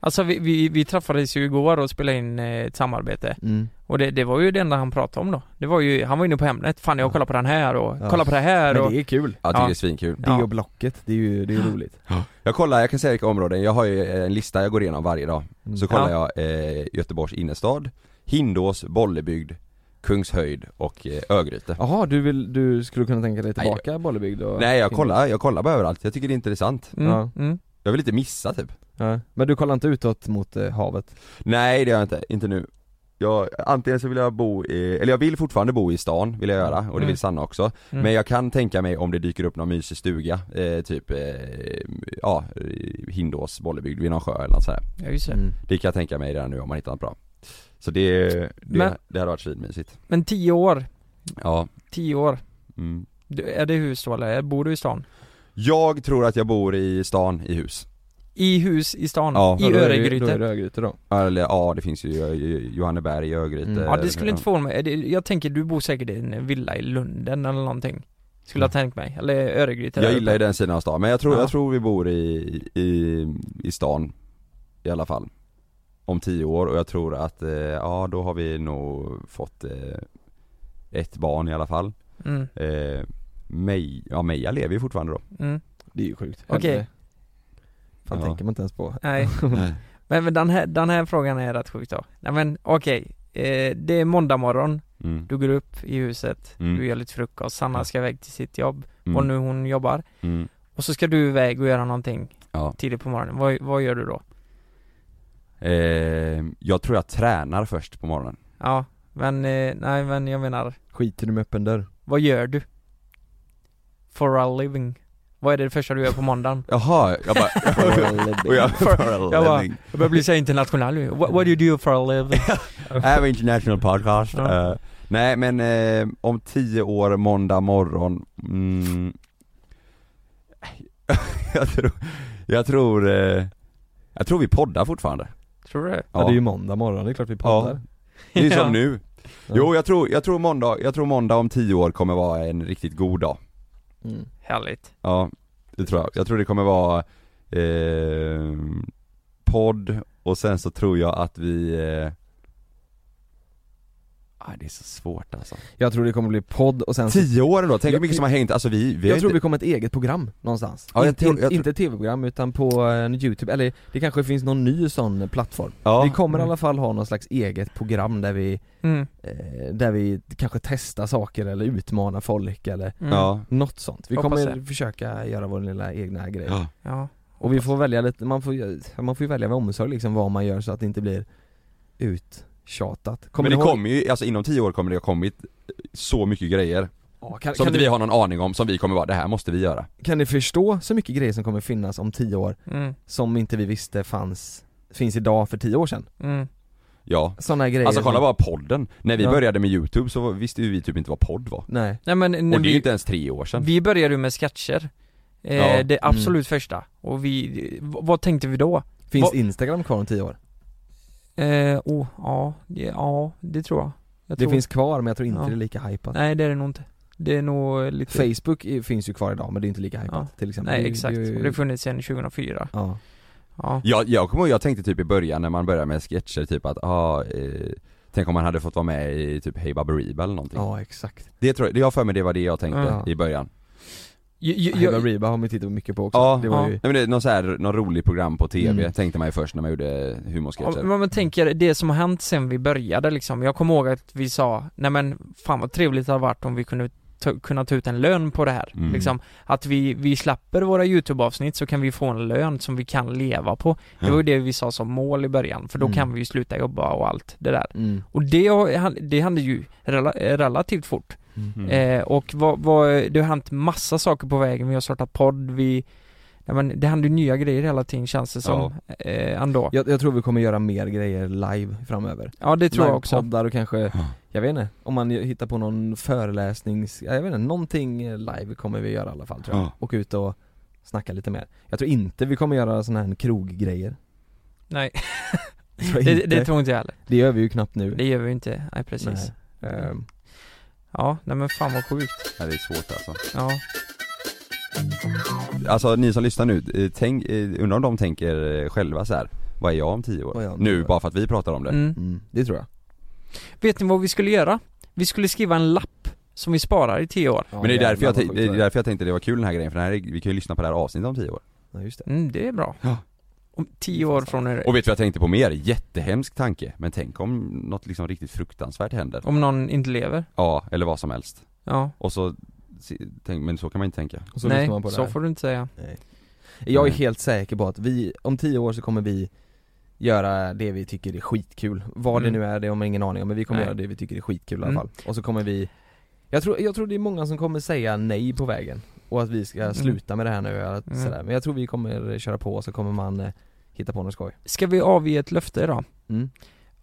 Speaker 2: Alltså vi, vi, vi träffades ju igår och spelade in eh, ett samarbete
Speaker 1: Mm.
Speaker 2: Och det, det var ju det enda han pratade om då Det var ju, han var inne på ämnet, fan jag kollar på den här och
Speaker 1: Ja.
Speaker 2: kollar på det här och
Speaker 1: Men det är kul,
Speaker 4: Jag tycker
Speaker 2: Ja.
Speaker 4: det är svinkul
Speaker 1: det
Speaker 2: Ja.
Speaker 1: och blocket, det är ju, det är ju roligt
Speaker 4: Jag kollar, jag kan säga vilka områden, jag har ju eh, en lista jag går igenom varje dag
Speaker 1: Mm.
Speaker 4: Så kollar jag eh, Göteborgs innerstad, Hindås, Bollebygd, Kungshöjd och eh, Örgryte
Speaker 1: Jaha, du vill, du skulle kunna tänka dig
Speaker 4: Nej.
Speaker 1: tillbaka Bollebygd och
Speaker 4: Nej jag kollar, jag kollar bara överallt, jag tycker det är intressant
Speaker 2: mm,
Speaker 1: Ja.
Speaker 2: mm.
Speaker 4: Jag vill inte missa typ
Speaker 1: ja. Men du kollar inte utåt mot eh, havet?
Speaker 4: Nej det gör jag inte, inte nu jag, antingen så vill jag bo i, eller jag vill fortfarande bo i stan, vill jag göra, och det
Speaker 2: Mm.
Speaker 4: vill Sanna också
Speaker 2: Mm.
Speaker 4: Men jag kan tänka mig om det dyker upp någon mysig stuga, eh, typ, eh, ja, Hindås, Bollebygd, vid någon sjö eller något sådär
Speaker 2: Ja, just det.
Speaker 1: Mm.
Speaker 4: Det kan jag tänka mig redan nu om man hittar något bra Så det, det,
Speaker 2: Men-
Speaker 4: det hade varit svinmysigt
Speaker 2: Men tio år,
Speaker 4: Ja,
Speaker 2: tio år
Speaker 4: mm.
Speaker 2: du, Är det hus då eller bor du i stan?
Speaker 4: Jag tror att jag bor i stan i hus
Speaker 2: I hus i stan?
Speaker 4: Ja.
Speaker 2: I
Speaker 1: Ja, då är det ju- Då är
Speaker 2: Öregryte?
Speaker 1: det Örgryte då
Speaker 4: Eller ja, det finns ju eh, Johanneberg, Örgryte
Speaker 1: Mm.
Speaker 2: Ja det skulle inte få mig, Det- jag tänker du bor säkert i en villa i Lunden eller någonting Skulle jag tänkt mig, eller Öregryte
Speaker 4: Jag
Speaker 2: där
Speaker 4: gillar ju
Speaker 2: uppe.
Speaker 4: den sidan av stan, men jag tror,
Speaker 2: Ja.
Speaker 4: jag tror vi bor i, i, i stan I alla fall Om tio år och jag tror att, eh, ja då har vi nog fått eh, ett barn i alla fall
Speaker 2: mm,
Speaker 4: eh, Mej, ja Meja lever ju fortfarande då
Speaker 2: mm.
Speaker 1: Det är ju sjukt
Speaker 2: Okej.
Speaker 1: Helvete. Fan
Speaker 4: Ja.
Speaker 1: tänker man inte ens på
Speaker 2: Nej, men, men den, här, den här frågan är rätt sjuk då Nej men okej, eh, det är måndag morgon,
Speaker 4: Mm.
Speaker 2: du går upp i huset,
Speaker 4: Mm.
Speaker 2: du gör lite frukost, Sanna
Speaker 4: Ja.
Speaker 2: ska iväg till sitt jobb,
Speaker 4: Mm.
Speaker 2: och nu hon jobbar
Speaker 4: Mm.
Speaker 2: Och så ska du iväg och göra någonting
Speaker 4: Ja.
Speaker 2: tidigt på morgonen, vad, vad gör du då?
Speaker 4: Eh, jag tror jag tränar först på morgonen
Speaker 2: Ja, men eh, nej men jag menar,
Speaker 1: Skiter du med öppen dörr?
Speaker 2: vad gör du? For a living Vad är det första du gör på måndagen?
Speaker 4: Jaha, jag bara, och jag,
Speaker 2: For- jag bara-
Speaker 4: bara
Speaker 2: Jag börjar bli så här internationell nu. What, what do you do for a living?
Speaker 4: I have an international podcast
Speaker 2: Ja.
Speaker 4: Eh, Nej men eh, om tio år, måndag morgon mm, Jag tror, jag tror, eh, jag tror vi poddar fortfarande
Speaker 2: Tror du det?
Speaker 1: Ja. det är ju måndag morgon, det är klart vi poddar
Speaker 4: Det är som
Speaker 2: Ja.
Speaker 4: nu Jo jag tror, jag tror måndag, jag tror måndag om tio år kommer vara en riktigt god dag
Speaker 1: Mm.
Speaker 2: Härligt.
Speaker 4: Ja, det tror jag. Jag tror det kommer vara eh, podd och sen så tror jag att vi eh, ah, det är så svårt alltså
Speaker 1: Jag tror det kommer bli podd och sen så
Speaker 4: Tio år ändå, tänk hur
Speaker 1: Jag-
Speaker 4: mycket som har hängt, alltså vi, vi har
Speaker 1: jag tror
Speaker 4: inte,
Speaker 1: vi kommer ett eget program någonstans.
Speaker 4: Ja, jag
Speaker 1: inte,
Speaker 4: tror- jag
Speaker 1: inte tv-program utan på en youtube, eller det kanske finns någon ny sån eh, plattform.
Speaker 4: ja,
Speaker 1: Vi kommer i
Speaker 2: Mm.
Speaker 1: alla fall ha någon slags eget program där vi,
Speaker 2: Mm.
Speaker 1: eh, där vi kanske testar saker eller utmanar folk eller
Speaker 2: Mm.
Speaker 4: ja,
Speaker 1: något sånt. Vi
Speaker 2: Hoppas
Speaker 1: kommer
Speaker 2: det.
Speaker 1: försöka göra vår lilla egna grej.
Speaker 4: ja,
Speaker 2: Ja.
Speaker 1: Och vi får välja lite, man får, man får ju välja med omsorg liksom vad man gör så att det inte blir uttjatat.
Speaker 4: Men
Speaker 1: ni
Speaker 4: det
Speaker 1: ihåg-
Speaker 4: kommer ju, alltså inom tio år kommer det ha kommit eh, så mycket grejer
Speaker 1: Ja, kan,
Speaker 4: som
Speaker 1: kan,
Speaker 4: inte
Speaker 1: ni,
Speaker 4: vi har någon aning om, som vi kommer vara, det här måste vi göra
Speaker 1: kan ni förstå så mycket grejer som kommer finnas om tio år
Speaker 2: Mm.
Speaker 1: som inte vi visste fanns, finns idag för tio år sedan?
Speaker 2: Mm.
Speaker 4: Ja,
Speaker 1: Sådana grejer
Speaker 4: alltså kolla
Speaker 1: som-
Speaker 4: bara podden, när vi
Speaker 1: Ja.
Speaker 4: började med youtube så visste ju vi typ inte vad podd var
Speaker 1: Nej,
Speaker 2: Nej men när
Speaker 4: Och det är ju
Speaker 2: vi,
Speaker 4: inte ens tre år sedan
Speaker 2: vi började ju med sketcher. Eh,
Speaker 4: Ja.
Speaker 2: Det
Speaker 1: Mm.
Speaker 2: absolut första. Och vi, v- vad tänkte vi då?
Speaker 1: finns
Speaker 2: Vad-
Speaker 1: Instagram kvar om tio år?
Speaker 2: Eh, oh, ja, det- ja, det tror jag. jag
Speaker 1: Det
Speaker 2: tror.
Speaker 1: finns kvar men jag tror inte
Speaker 2: Ja.
Speaker 1: det är lika hypat
Speaker 2: Nej det är det nog inte. Det är nog lite...
Speaker 1: Facebook är, finns ju kvar idag men det är inte lika hypat till exempel
Speaker 2: Nej
Speaker 1: Det är-
Speaker 2: exakt.
Speaker 1: det är ju-
Speaker 2: Och det har funnits sedan 2004.
Speaker 1: Ja,
Speaker 2: Ja.
Speaker 4: Jag, jag kommer ihåg, jag tänkte typ i början när man började med sketcher typ att, ah, eh, tänk om man hade fått vara med i typ Hey Baberiba eller någonting
Speaker 1: ja exakt
Speaker 4: Det tror jag, det- jag har för mig det var det jag tänkte
Speaker 1: Ja.
Speaker 4: i början
Speaker 2: Ju- ju-
Speaker 1: Hiba
Speaker 2: Jag,
Speaker 1: Reba har man tittat mycket på också,
Speaker 4: Ja,
Speaker 1: det var
Speaker 2: ja.
Speaker 1: ju
Speaker 4: Nej men det, någon så här, någon rolig program på TV
Speaker 1: Mm.
Speaker 4: tänkte man ju först när man gjorde humorsketcher
Speaker 2: Ja, men man tänker det som har hänt sen vi började liksom. Jag kommer ihåg att vi sa, nej men fan vad trevligt det hade varit om vi kunde ta, kunna ta ut en lön på det här.
Speaker 4: Mm.
Speaker 2: Liksom, att vi, vi släpper våra YouTube-avsnitt så kan vi få en lön som vi kan leva på. Det
Speaker 4: Ja.
Speaker 2: var ju det vi sa som mål i början, för då
Speaker 1: Mm.
Speaker 2: kan vi ju sluta jobba och allt det där.
Speaker 1: mm.
Speaker 2: Och det, har- det hände ju rela, relativt fort.
Speaker 1: Mm.
Speaker 4: Mm.
Speaker 2: Eh, och vad, vad, det har hänt massa saker på vägen, vi har startat podd, vi Nej, men det händer ju nya grejer hela tiden känns det som, eh, ändå. Ja,
Speaker 1: Jag, jag tror vi kommer göra mer grejer live framöver
Speaker 2: det tror jag också.
Speaker 1: Livepoddar och kanske,
Speaker 4: Ja.
Speaker 1: jag vet inte, om man hittar på någon föreläsnings, jag vet inte, någonting eh, live kommer vi göra i alla fall tror jag
Speaker 4: Ja.
Speaker 1: Och ut och snacka lite mer Jag tror inte vi kommer göra såna här kroggrejer
Speaker 2: Nej,
Speaker 1: Tror jag
Speaker 2: det,
Speaker 1: inte.
Speaker 2: det tror inte jag heller.
Speaker 1: det gör vi ju knappt nu
Speaker 2: Det gör vi ju inte, nej precis.
Speaker 1: Nej. Ehm,
Speaker 2: Ja, nej men fan vad sjukt.
Speaker 4: Ja, Det är svårt alltså
Speaker 2: Ja.
Speaker 4: Alltså ni som lyssnar nu, eh, tänk, eh, undrar om de tänker eh, själva så här. vad är jag om tio år?
Speaker 1: Vad är jag om tio
Speaker 4: nu
Speaker 1: år?
Speaker 4: bara för att vi pratar om det
Speaker 2: Mm.
Speaker 1: Mm, det tror jag
Speaker 2: Vet ni vad vi skulle göra? Vi skulle skriva en lapp som vi sparar i tio år.
Speaker 1: Ja,
Speaker 4: Men det är, därför jag,
Speaker 1: jävlar
Speaker 4: t-
Speaker 1: vad
Speaker 4: det
Speaker 1: sjukt
Speaker 4: är därför jag tänkte det var kul den här grejen, för den här, är- vi kan ju lyssna på det här avsnittet om tio år
Speaker 1: Ja, just det
Speaker 2: Mm, det är bra.
Speaker 4: Ja.
Speaker 2: Om tio år från nu.
Speaker 4: Och vet du vad jag tänkte på mer? Jättehemsk tanke, men tänk om något liksom riktigt fruktansvärt händer
Speaker 2: Om någon inte lever.
Speaker 4: Ja, eller vad som helst
Speaker 2: Ja.
Speaker 4: Och så, se- tänk, men så kan man inte tänka
Speaker 1: Och så
Speaker 2: Nej,
Speaker 1: lyssnar man på det
Speaker 2: så
Speaker 1: här.
Speaker 2: får du inte säga.
Speaker 1: Jag är
Speaker 4: Nej.
Speaker 1: helt säker på att vi, om tio år så kommer vi göra det vi tycker är skitkul. Vad
Speaker 2: Mm.
Speaker 1: det nu är, det har man ingen aning om, men vi kommer
Speaker 2: Nej.
Speaker 1: göra det vi tycker är skitkul i alla
Speaker 2: Mm.
Speaker 1: fall. Och så kommer vi jag tror, jag tror det är många som kommer säga nej på vägen och att vi ska
Speaker 2: Mm.
Speaker 1: sluta med det här nu och att
Speaker 2: Mm.
Speaker 1: sådär. Men jag tror vi kommer köra på och så kommer man eh, hitta på något skoj.
Speaker 2: Ska vi avge ett löfte då?
Speaker 1: Mm.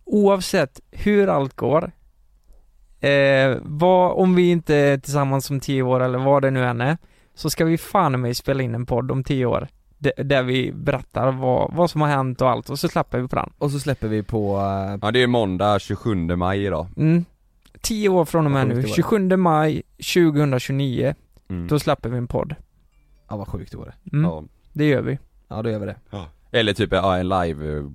Speaker 2: Oavsett hur allt går, eh, vad, om vi inte är tillsammans om tio år eller vad det nu än är, så ska vi fan i mig spela in en podd om tio år. D- där vi berättar vad, vad som har hänt och allt och så slappar vi på den.
Speaker 1: Och så släpper vi på eh,
Speaker 4: Ja det är måndag 27 maj idag
Speaker 2: Mm. Tio år från och med
Speaker 1: Vad
Speaker 2: nu,
Speaker 1: sjukt det var.
Speaker 2: 27 maj 2029,
Speaker 4: mm.
Speaker 2: då släpper vi en podd.
Speaker 1: Ja vad sjukt det vore.
Speaker 2: Mm,
Speaker 4: ja.
Speaker 2: Det gör vi.
Speaker 1: Ja då gör vi det.
Speaker 4: Eller typ ja, en live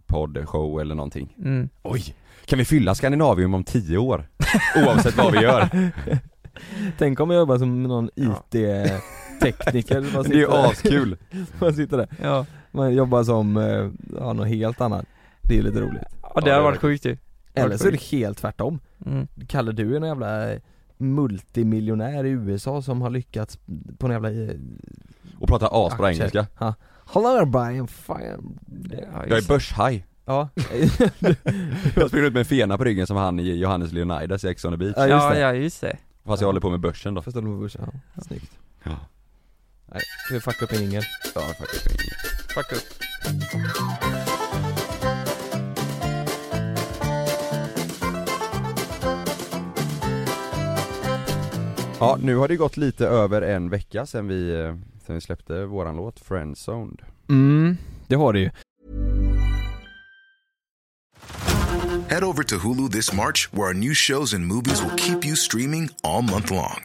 Speaker 4: show eller någonting
Speaker 2: Mm.
Speaker 4: Oj! Kan vi fylla Skandinavium om tio år? Oavsett vad vi gör
Speaker 1: Tänk om jag jobbar som någon
Speaker 2: Ja.
Speaker 1: IT-tekniker, man,
Speaker 4: Det är ju
Speaker 1: sitter där-
Speaker 4: askul!
Speaker 1: man sitter där,
Speaker 2: Ja.
Speaker 1: man jobbar som, eh, ja något helt annat. Det är ju lite roligt.
Speaker 2: ja, det
Speaker 4: det
Speaker 2: har
Speaker 4: var
Speaker 2: varit sjukt ju.
Speaker 1: Eller så är det helt tvärtom.
Speaker 2: Mm.
Speaker 1: Kalle du är någon jävla eh, multimiljonär i USA som har lyckats på någon jävla... eh,
Speaker 4: Och prata asbra
Speaker 1: Aktier.
Speaker 4: engelska
Speaker 1: Hello Brian, fan.
Speaker 2: Ja,
Speaker 4: Jag är
Speaker 2: just-
Speaker 4: börshaj
Speaker 1: Ja,
Speaker 4: Jag springer ut med en fena på ryggen som han i Johannes Leonidas i Ex on the Beach
Speaker 1: Ja, just
Speaker 2: ja,
Speaker 1: det.
Speaker 2: ja, just det.
Speaker 4: Fast jag håller på med börsen då
Speaker 1: förstår du på börsen? Ja, snyggt.
Speaker 4: Ja.
Speaker 1: Nej, ska vi fucka upp en jingel?
Speaker 4: Ja, faktiskt.
Speaker 2: Fuck upp.
Speaker 4: Ja, nu har det gått lite över en vecka sen vi, eh, sen vi släppte våran låt 'Friendzoned'
Speaker 1: Mm, det har du ju.
Speaker 3: Head over to Hulu this March, where our new shows and movies will keep you streaming all month long.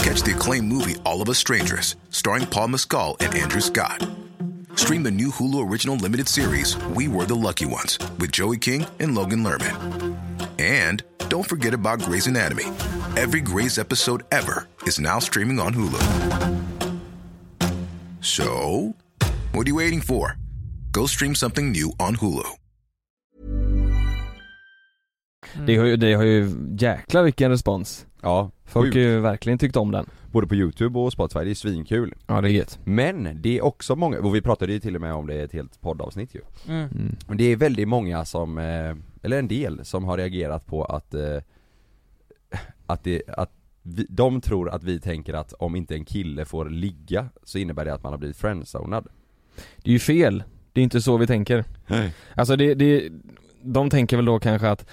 Speaker 3: Catch the acclaimed movie All of Us Strangers, starring Paul Mescal and Andrew Scott. Stream the new Hulu original limited series We Were the Lucky Ones with Joey King and Logan Lerman. And don't forget about Grey's Anatomy. Every Grey's episode ever is now streaming on Hulu. So, what are you waiting for? Go stream something new on Hulu.
Speaker 2: Mm.
Speaker 1: Det har ju, det har ju jäklar vilken respons.
Speaker 4: Ja,
Speaker 1: Folk
Speaker 4: sjukt.
Speaker 1: har ju verkligen tyckt om den.
Speaker 4: både på youtube och Spotify, det är svinkul
Speaker 1: Ja det är gött.
Speaker 4: Men det är också många, och vi pratade ju till och med om det i ett helt poddavsnitt ju
Speaker 2: Mm.
Speaker 1: Mm.
Speaker 4: Men det är väldigt många som, eh, eller en del, som har reagerat på att eh, Att det, att vi, de tror att vi tänker att om inte en kille får ligga så innebär det att man har blivit friendzonad
Speaker 1: Det är ju fel. Det är inte så vi tänker.
Speaker 4: Nej.
Speaker 1: Alltså det, det, de tänker väl då kanske att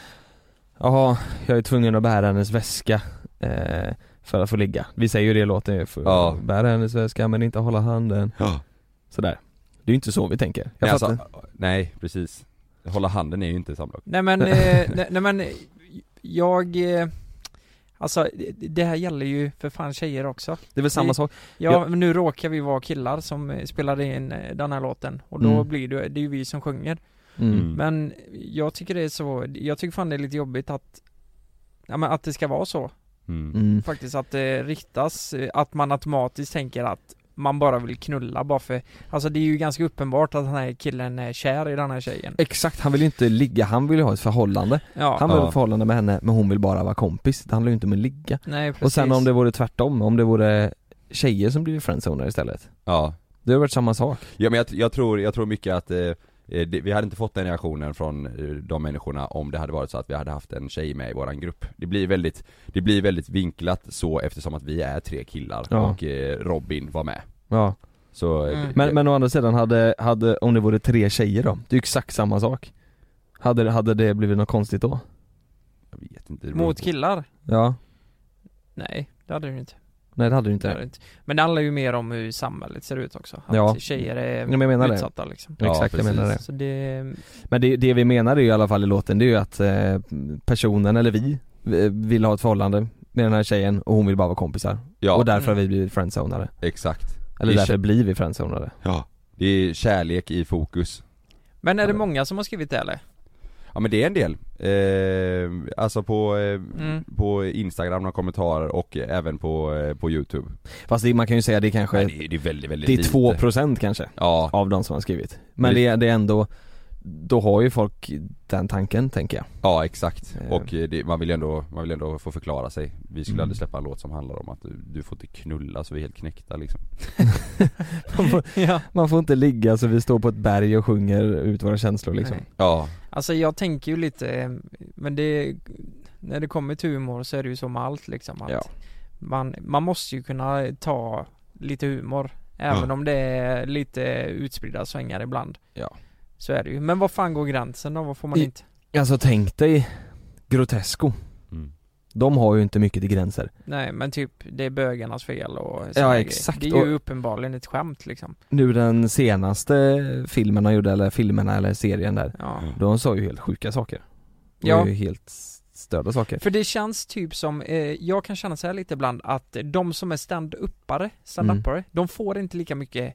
Speaker 1: Jaha, jag är tvungen att bära hennes väska eh, för att få ligga. Vi säger ju det i låten ju, för
Speaker 4: Ja.
Speaker 1: bära hennes väska men inte hålla handen.
Speaker 4: Ja.
Speaker 1: Sådär. Det är ju inte så vi tänker. Jag
Speaker 4: Nej,
Speaker 1: fattar.
Speaker 4: alltså, nej precis Hålla handen är ju inte samlag
Speaker 2: Nej men, eh, nej, nej men, eh, jag, eh, alltså det- det här gäller ju för fan tjejer också.
Speaker 1: det är väl samma
Speaker 2: vi-
Speaker 1: sak.
Speaker 2: Ja,
Speaker 1: Ja.
Speaker 2: men nu råkar vi vara killar som eh, spelade in eh, den här låten och då
Speaker 1: Mm.
Speaker 2: blir det, det är ju vi som sjunger.
Speaker 1: Mm.
Speaker 2: Men jag tycker det är så, jag tycker fan det är lite jobbigt att Ja men att det ska vara så
Speaker 4: Mm.
Speaker 1: Mm.
Speaker 2: faktiskt, att det riktas, eh, att man automatiskt tänker att man bara vill knulla bara för Alltså det är ju ganska uppenbart att den här killen är kär i den här tjejen
Speaker 1: Exakt, han vill ju inte ligga, han vill ju ha ett förhållande.
Speaker 2: Ja,
Speaker 1: Han vill ha
Speaker 4: Ja.
Speaker 1: ett förhållande med henne men hon vill bara vara kompis. Det handlar ju inte om att ligga.
Speaker 2: nej precis
Speaker 1: Och sen om det vore tvärtom, om det vore tjejer som blivit friendzoner istället.
Speaker 4: Ja,
Speaker 1: Det har varit samma sak.
Speaker 4: ja men jag, jag, tror, jag tror mycket att eh, eh, det, vi hade inte fått den reaktionen från eh, de människorna om det hade varit så att vi hade haft en tjej med i våran grupp Det blir väldigt, det blir väldigt vinklat så eftersom att vi är tre killar
Speaker 1: Ja.
Speaker 4: och eh, Robin var med
Speaker 1: Ja.
Speaker 4: Så, eh,
Speaker 2: Mm.
Speaker 1: Men, men å andra sidan, hade, hade, om det vore tre tjejer då? Det är ju exakt samma sak Hade, det- hade det blivit något konstigt då?
Speaker 4: jag vet inte det beror
Speaker 2: Mot
Speaker 4: på-
Speaker 2: killar?
Speaker 1: Ja,
Speaker 2: Nej, det hade du inte.
Speaker 1: nej det hade du
Speaker 2: Det
Speaker 1: inte
Speaker 2: hade du inte. Men det handlar ju mer om hur samhället ser ut också. Att
Speaker 1: Ja.
Speaker 2: tjejer är
Speaker 1: Ja, men jag menar det.
Speaker 2: utsatta liksom.
Speaker 4: Ja,
Speaker 1: Exakt, jag
Speaker 4: precis.
Speaker 1: menar det
Speaker 2: Så det,
Speaker 1: Men det, det vi menar är ju i alla fall i låten, det är ju att eh, personen, eller vi, eh, vill ha ett förhållande med den här tjejen och hon vill bara vara kompisar
Speaker 4: Ja,
Speaker 1: Och därför har
Speaker 2: Mm.
Speaker 1: vi blivit friendzonade
Speaker 4: exakt
Speaker 1: Eller
Speaker 4: Det är
Speaker 1: därför blir vi friendzonade
Speaker 4: Ja Det är kärlek i fokus
Speaker 2: Men är det många som har skrivit det eller?
Speaker 4: Ja men det är en del, eh, alltså på, eh,
Speaker 2: Mm.
Speaker 4: på Instagram, några kommentarer och även på, eh, på Youtube
Speaker 1: Fast det, man kan ju säga det kanske,
Speaker 4: Nej, det, är- det är väldigt, väldigt
Speaker 1: det är
Speaker 4: lite.
Speaker 1: 2% kanske
Speaker 4: Ja,
Speaker 1: av de som har skrivit Men
Speaker 4: Men
Speaker 1: det, är- det är ändå, då har ju folk den tanken tänker jag
Speaker 4: ja exakt.
Speaker 1: Eh.
Speaker 4: Och eh, det, man, vill ju ändå, man vill ändå få förklara sig. Vi skulle
Speaker 1: Mm.
Speaker 4: aldrig släppa en låt som handlar om att du, du får inte knulla så vi är helt knäckta liksom.
Speaker 1: Man får,
Speaker 2: Ja
Speaker 1: man får inte ligga så vi står på ett berg och sjunger ut våra känslor liksom
Speaker 2: Nej.
Speaker 4: Ja,
Speaker 2: Alltså jag tänker ju lite, eh, men det När det kommer till humor så är det ju som allt liksom att
Speaker 1: Ja.
Speaker 2: man, man måste ju kunna ta lite humor Även
Speaker 4: Ja.
Speaker 2: om det är lite utspridda svängar ibland
Speaker 1: Ja.
Speaker 2: Så är det ju, men vad fan går gränsen då? Vad får man
Speaker 1: I-
Speaker 2: inte?
Speaker 1: Alltså tänk dig Grotesco,
Speaker 4: mm.
Speaker 1: de har ju inte mycket till gränser
Speaker 2: Nej men typ, det är bögarnas fel och såna grejer.
Speaker 1: exakt,
Speaker 2: Det är ju
Speaker 1: och-
Speaker 2: uppenbarligen ett skämt liksom
Speaker 1: Nu den senaste filmen de gjorde, eller filmerna eller serien där
Speaker 2: Ja,
Speaker 1: De sa ju helt sjuka saker Det
Speaker 2: ja.
Speaker 1: var ju helt störda saker
Speaker 2: För det känns typ som, eh, jag kan känna så här lite ibland att de som är stand-uppare, stand-upare, de får inte lika mycket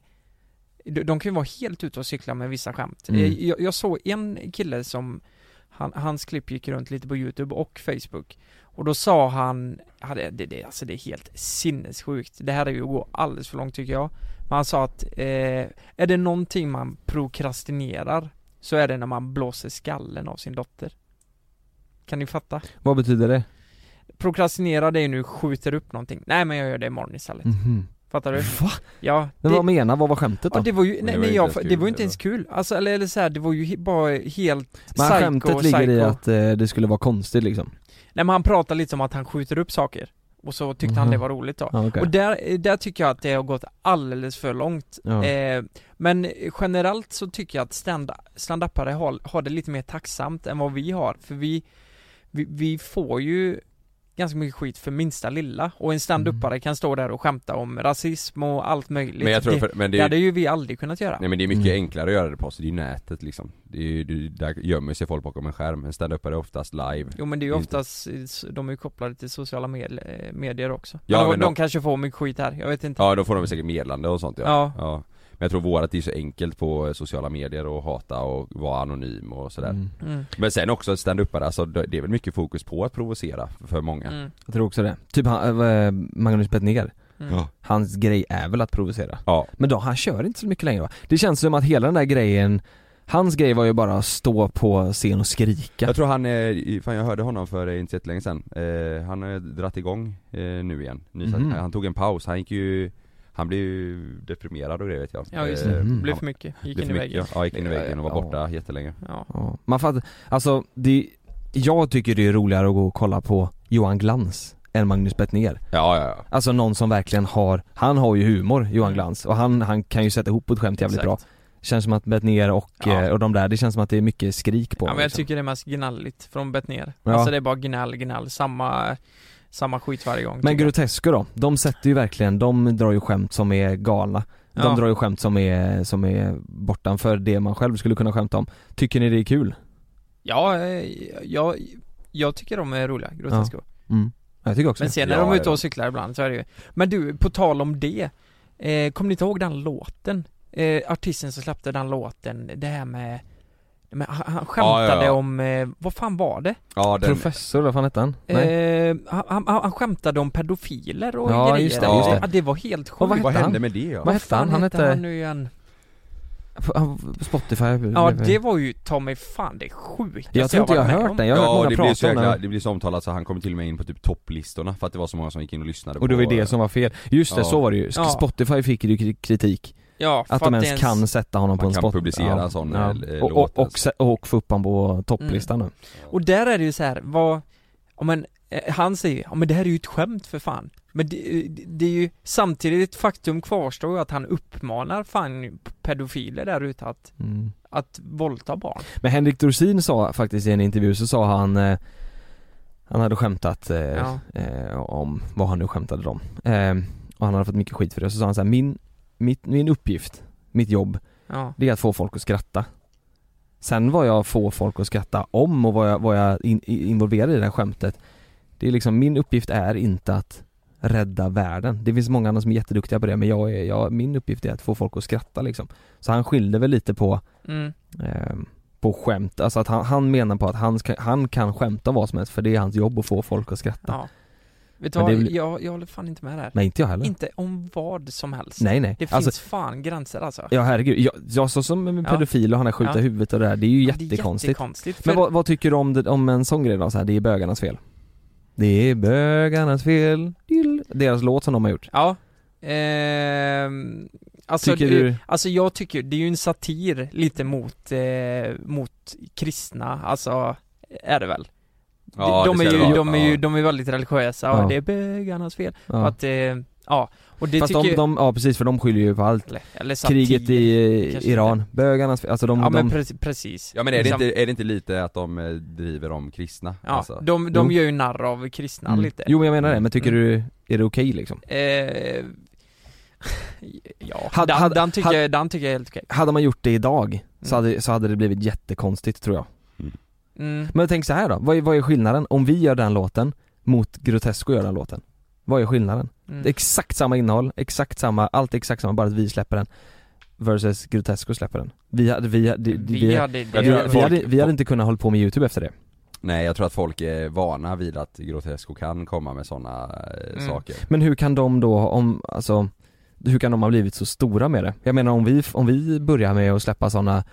Speaker 2: de, de kan ju vara helt ute och cykla med vissa skämt.
Speaker 1: Mm.
Speaker 2: Eh, Jag, jag såg en kille som, han, hans klipp gick runt lite på youtube och facebook och då sa han, ja, det, det, det, alltså det är helt sinnessjukt, det här är ju att gå alldeles för långt tycker jag. Men han sa att, eh, är det någonting man prokrastinerar så är det när man blåser skallen av sin dotter. Kan ni fatta?
Speaker 1: Vad betyder det?
Speaker 2: prokrastinera det är nu skjuter upp någonting. Nej men jag gör det imorgon istället.
Speaker 1: Mhm.
Speaker 2: Fattar du?
Speaker 1: Va?
Speaker 2: Ja. Det,
Speaker 1: Men vad menar, vad var skämtet då?
Speaker 2: ja, det var ju,
Speaker 4: Men det
Speaker 2: nej,
Speaker 4: var
Speaker 2: nej
Speaker 4: ju
Speaker 2: jag,
Speaker 4: inte ens
Speaker 2: det var
Speaker 4: kul,
Speaker 2: ju inte
Speaker 4: det
Speaker 2: ens kul. Alltså eller, eller så här, det var ju he- bara helt
Speaker 1: Men
Speaker 2: psycho,
Speaker 1: skämtet ligger
Speaker 2: psycho.
Speaker 1: i att eh, det skulle vara konstigt liksom
Speaker 2: Nej men han pratade lite om att han skjuter upp saker. Och så tyckte han
Speaker 1: Mhm.
Speaker 2: det var roligt då.
Speaker 1: ja, okej.
Speaker 2: Och där, eh, där tycker jag att det har gått alldeles för långt.
Speaker 1: ja.
Speaker 2: Eh, men generellt så tycker jag att stand- stand-upare har, har det lite mer tacksamt än vad vi har, för vi, vi, vi får ju ganska mycket skit för minsta lilla, och en stand-upare kan stå där och skämta om rasism och allt möjligt.
Speaker 4: Mm. men jag tror,
Speaker 2: det,
Speaker 4: för, men
Speaker 2: det,
Speaker 4: det är
Speaker 2: hade ju vi aldrig kunnat göra.
Speaker 4: Nej men det är mycket
Speaker 1: Mm.
Speaker 4: enklare att göra det på oss, det är ju nätet liksom det är ju, det, Där gömmer sig folk bakom en skärm, en standupare är oftast live
Speaker 2: Jo men det är ju
Speaker 4: Inte.
Speaker 2: oftast, eh, de är ju kopplade till sociala med- eh, medier också.
Speaker 4: Ja,
Speaker 2: Ja, de,
Speaker 4: men
Speaker 2: de
Speaker 4: de-
Speaker 2: kanske får mycket skit här, jag vet inte.
Speaker 4: Ja då får de säkert medlande och sånt ja,
Speaker 2: Ja.
Speaker 4: Men jag tror vårat det är så enkelt på eh, sociala medier och hata och vara anonym och sådär
Speaker 1: Mm.
Speaker 2: Mm.
Speaker 4: Men sen också standupare, alltså det det är väl mycket fokus på att provocera för många
Speaker 2: Mm.
Speaker 1: Jag tror också det. Typ han, eh, Magnus Bettner,
Speaker 2: Mm.
Speaker 4: Ja.
Speaker 1: hans grej är väl att provocera.
Speaker 4: Ja,
Speaker 1: Men då, han kör inte så mycket längre va? Det känns som att hela den där grejen, hans grej var ju bara att stå på scen och skrika.
Speaker 4: jag tror han, eh, i- fan jag hörde honom för eh, inte så länge sen eh, Han har dratt igång eh, nu igen, Ny,
Speaker 1: Mhm.
Speaker 4: han tog en paus, han gick ju han blev ju deprimerad och det vet jag
Speaker 2: Ja, just
Speaker 1: det.
Speaker 4: Eh,
Speaker 1: Mhm.
Speaker 2: Det blev
Speaker 4: han-
Speaker 2: för mycket, gick
Speaker 4: Blev
Speaker 2: in i
Speaker 4: för mycket,
Speaker 2: väggen.
Speaker 4: ja. Ja, gick in i
Speaker 1: Ja,
Speaker 4: väggen och var
Speaker 1: ja.
Speaker 4: borta jättelänge
Speaker 2: Ja.
Speaker 1: Ja. Man fattar, alltså det, jag tycker det är roligare att gå och kolla på Johan Glans än Magnus Bettner.
Speaker 4: Ja, ja, ja.
Speaker 1: Alltså någon som verkligen har, han har ju humor, Johan
Speaker 2: Mm.
Speaker 1: Glans, och han, han kan ju sätta ihop ett skämt jävligt
Speaker 2: Exakt.
Speaker 1: bra. Känns som att Bettner och,
Speaker 2: Ja.
Speaker 1: eh, och de där, det känns som att det är mycket skrik på
Speaker 2: Ja
Speaker 1: dem,
Speaker 2: men jag
Speaker 1: liksom.
Speaker 2: tycker det är mest gnälligt från Bettner
Speaker 1: Ja.
Speaker 2: Alltså det är bara gnäll, gnäll, samma, samma skit varje gång
Speaker 1: Men
Speaker 2: tycker jag.
Speaker 1: Grotesco då, de sätter ju verkligen, de drar ju skämt som är galna. De
Speaker 2: Ja.
Speaker 1: drar ju skämt som är, som är bortanför det man själv skulle kunna skämta om. Tycker ni det är kul?
Speaker 2: Ja, eh, jag, jag tycker de är roliga, groteska
Speaker 1: Mm. Jag tycker också
Speaker 2: Men
Speaker 1: det.
Speaker 2: sen när
Speaker 4: Ja,
Speaker 2: de är ute
Speaker 4: ja.
Speaker 2: och cyklar ibland så är det ju Men du, på tal om det eh, Kommer ni inte ihåg den låten? Eh, artisten som släppte den låten, det här med men han, han skämtade
Speaker 4: Ja, ja, ja.
Speaker 2: om, eh, vad fan var det?
Speaker 4: ja den,
Speaker 1: Professor, vad fan hette han? Nej.
Speaker 2: Eh, han, han, han skämtade om pedofiler och
Speaker 1: Ja,
Speaker 2: grejer
Speaker 1: just det, just det.
Speaker 2: Ja, det var helt sjukt
Speaker 1: Och vad
Speaker 4: Vad
Speaker 1: hette
Speaker 4: hände
Speaker 1: han?
Speaker 4: med det ja?
Speaker 1: Vad hette han?
Speaker 2: Fan
Speaker 1: Han
Speaker 2: hette han
Speaker 1: hette...
Speaker 2: nu igen?
Speaker 1: han- Spotify
Speaker 2: Ja det var ju ta mig fan det sjukaste
Speaker 1: Jag tror inte jag
Speaker 2: varit
Speaker 1: har
Speaker 2: med
Speaker 1: hört
Speaker 2: om.
Speaker 1: den, jag har
Speaker 4: ja,
Speaker 1: hört
Speaker 4: det
Speaker 1: många
Speaker 4: blev så
Speaker 1: prata om
Speaker 4: jäkla,
Speaker 1: den.
Speaker 4: det blev så omtalat så han kom till och med in på typ topplistorna för att det var så många som gick in och lyssnade
Speaker 1: Och det var
Speaker 4: på eh,
Speaker 1: ju det som var fel. Just det,
Speaker 4: Ja.
Speaker 1: så var det ju.
Speaker 2: Ja.
Speaker 1: Spotify fick ju kri- kritik.
Speaker 2: Ja,
Speaker 1: Att
Speaker 2: för
Speaker 1: de
Speaker 2: det
Speaker 1: ens,
Speaker 2: är en-
Speaker 1: kan sätta honom på
Speaker 4: man
Speaker 1: en
Speaker 4: kan
Speaker 1: spot.
Speaker 4: publicera en sån, eh, l-
Speaker 1: Och, och,
Speaker 4: låt,
Speaker 1: och, se- och få upp honom på topplistan nu.
Speaker 2: Och där är det ju så här, vad, ja men eh, han säger ja men det här är ju ett skämt för fan Men det, det- det är ju, samtidigt faktum kvarstår ju att han uppmanar fan pedofiler där ute att,
Speaker 1: Mm.
Speaker 2: att våldta barn
Speaker 1: Men Henrik Dorsin sa faktiskt i en intervju så sa han eh, Han hade skämtat eh,
Speaker 2: Ja.
Speaker 1: eh, om vad han nu skämtade om eh, Och han hade fått mycket skit för det, så sa han så här, min, mitt, min uppgift, mitt jobb,
Speaker 2: Ja,
Speaker 1: det är att få folk att skratta Sen vad jag får folk att skratta om och vad jag, vad jag in, i- involverar i det här skämtet Det är liksom, min uppgift är inte att rädda världen. Det finns många andra som är jätteduktiga på det men jag är, jag, min uppgift är att få folk att skratta liksom. Så han skilde väl lite på
Speaker 2: mm.
Speaker 1: eh, på skämt, alltså att han, han menar på att han, ska, han kan skämta om vad som helst för det är hans jobb att få folk att skratta
Speaker 2: Ja. Vet du
Speaker 1: Men
Speaker 2: vad,
Speaker 1: det är väl-
Speaker 2: jag, jag håller fan inte med där.
Speaker 1: Nej inte jag heller
Speaker 2: Inte om vad som helst.
Speaker 1: Nej nej,
Speaker 2: Det finns
Speaker 1: alltså
Speaker 2: fan gränser alltså.
Speaker 1: ja herregud, jag, jag så som en
Speaker 2: Ja.
Speaker 1: pedofil och han är skjuta
Speaker 2: Ja.
Speaker 1: i huvudet och det där, det är ju
Speaker 2: Ja, Det är
Speaker 1: jättekonstigt
Speaker 2: jättekonstigt.
Speaker 1: Men
Speaker 2: för-
Speaker 1: vad, vad tycker du om, det, om en sån grej då? Så här, det är bögarnas fel Det är bögarnas fel, Dill. deras låt som de har gjort
Speaker 2: Ja. typ. Ehm, alltså,
Speaker 1: Tycker
Speaker 2: det-
Speaker 1: du-
Speaker 2: alltså jag tycker, det är ju en satir lite mot, eh, mot kristna, alltså är det väl?
Speaker 4: Ja,
Speaker 2: de,
Speaker 4: det
Speaker 2: är
Speaker 4: ska
Speaker 2: ju,
Speaker 4: det vara.
Speaker 2: de är ju,
Speaker 4: Ja.
Speaker 2: de är väldigt religiösa
Speaker 1: Ja.
Speaker 2: och det är bögarnas fel.
Speaker 1: ja.
Speaker 2: Att, eh, ja, och det
Speaker 1: Fast
Speaker 2: tycker
Speaker 1: de, de, ja precis för de skyller ju på allt
Speaker 2: eller, eller satir.
Speaker 1: Kriget i
Speaker 2: kanske
Speaker 1: Iran, bögarnas fel, alltså de,
Speaker 2: Ja men
Speaker 1: de
Speaker 2: pre- precis.
Speaker 4: Ja men är det,
Speaker 2: Liksom,
Speaker 4: inte, är det inte lite att de eh, driver om kristna?
Speaker 2: Ja,
Speaker 4: alltså?
Speaker 2: de, de
Speaker 1: Jo.
Speaker 2: gör ju narr av kristna
Speaker 1: mm.
Speaker 2: lite.
Speaker 1: Jo men jag menar det, men tycker
Speaker 2: Mm.
Speaker 1: du, är det okej liksom?
Speaker 2: Eh, ja,
Speaker 1: Had-
Speaker 2: den,
Speaker 1: had-
Speaker 2: den, tycker,
Speaker 1: had-
Speaker 2: jag- den tycker jag är helt okej.
Speaker 1: Hade man gjort det idag så,
Speaker 2: Mm.
Speaker 1: hade, så hade det blivit jättekonstigt tror jag
Speaker 2: Mm.
Speaker 1: Men tänk så här då, vad är, vad är skillnaden om vi gör den låten mot Grotesco gör den låten? Vad är skillnaden?
Speaker 2: Mm.
Speaker 1: Det är exakt samma innehåll, exakt samma, allt är exakt samma, bara att vi släpper den Versus Grotesco släpper den Vi hade, vi hade, vi,
Speaker 2: Vi hade det.
Speaker 4: Jag
Speaker 1: vi, vi,
Speaker 4: tror att
Speaker 1: vi,
Speaker 4: folk-
Speaker 1: hade, vi hade inte kunnat hålla på med youtube efter det
Speaker 4: Nej jag tror att folk är vana vid att Grotesco kan komma med sådana
Speaker 2: Mm.
Speaker 4: saker
Speaker 1: Men hur kan de då, om, alltså, hur kan de ha blivit så stora med det? Jag menar om vi, om vi börjar med att släppa sådana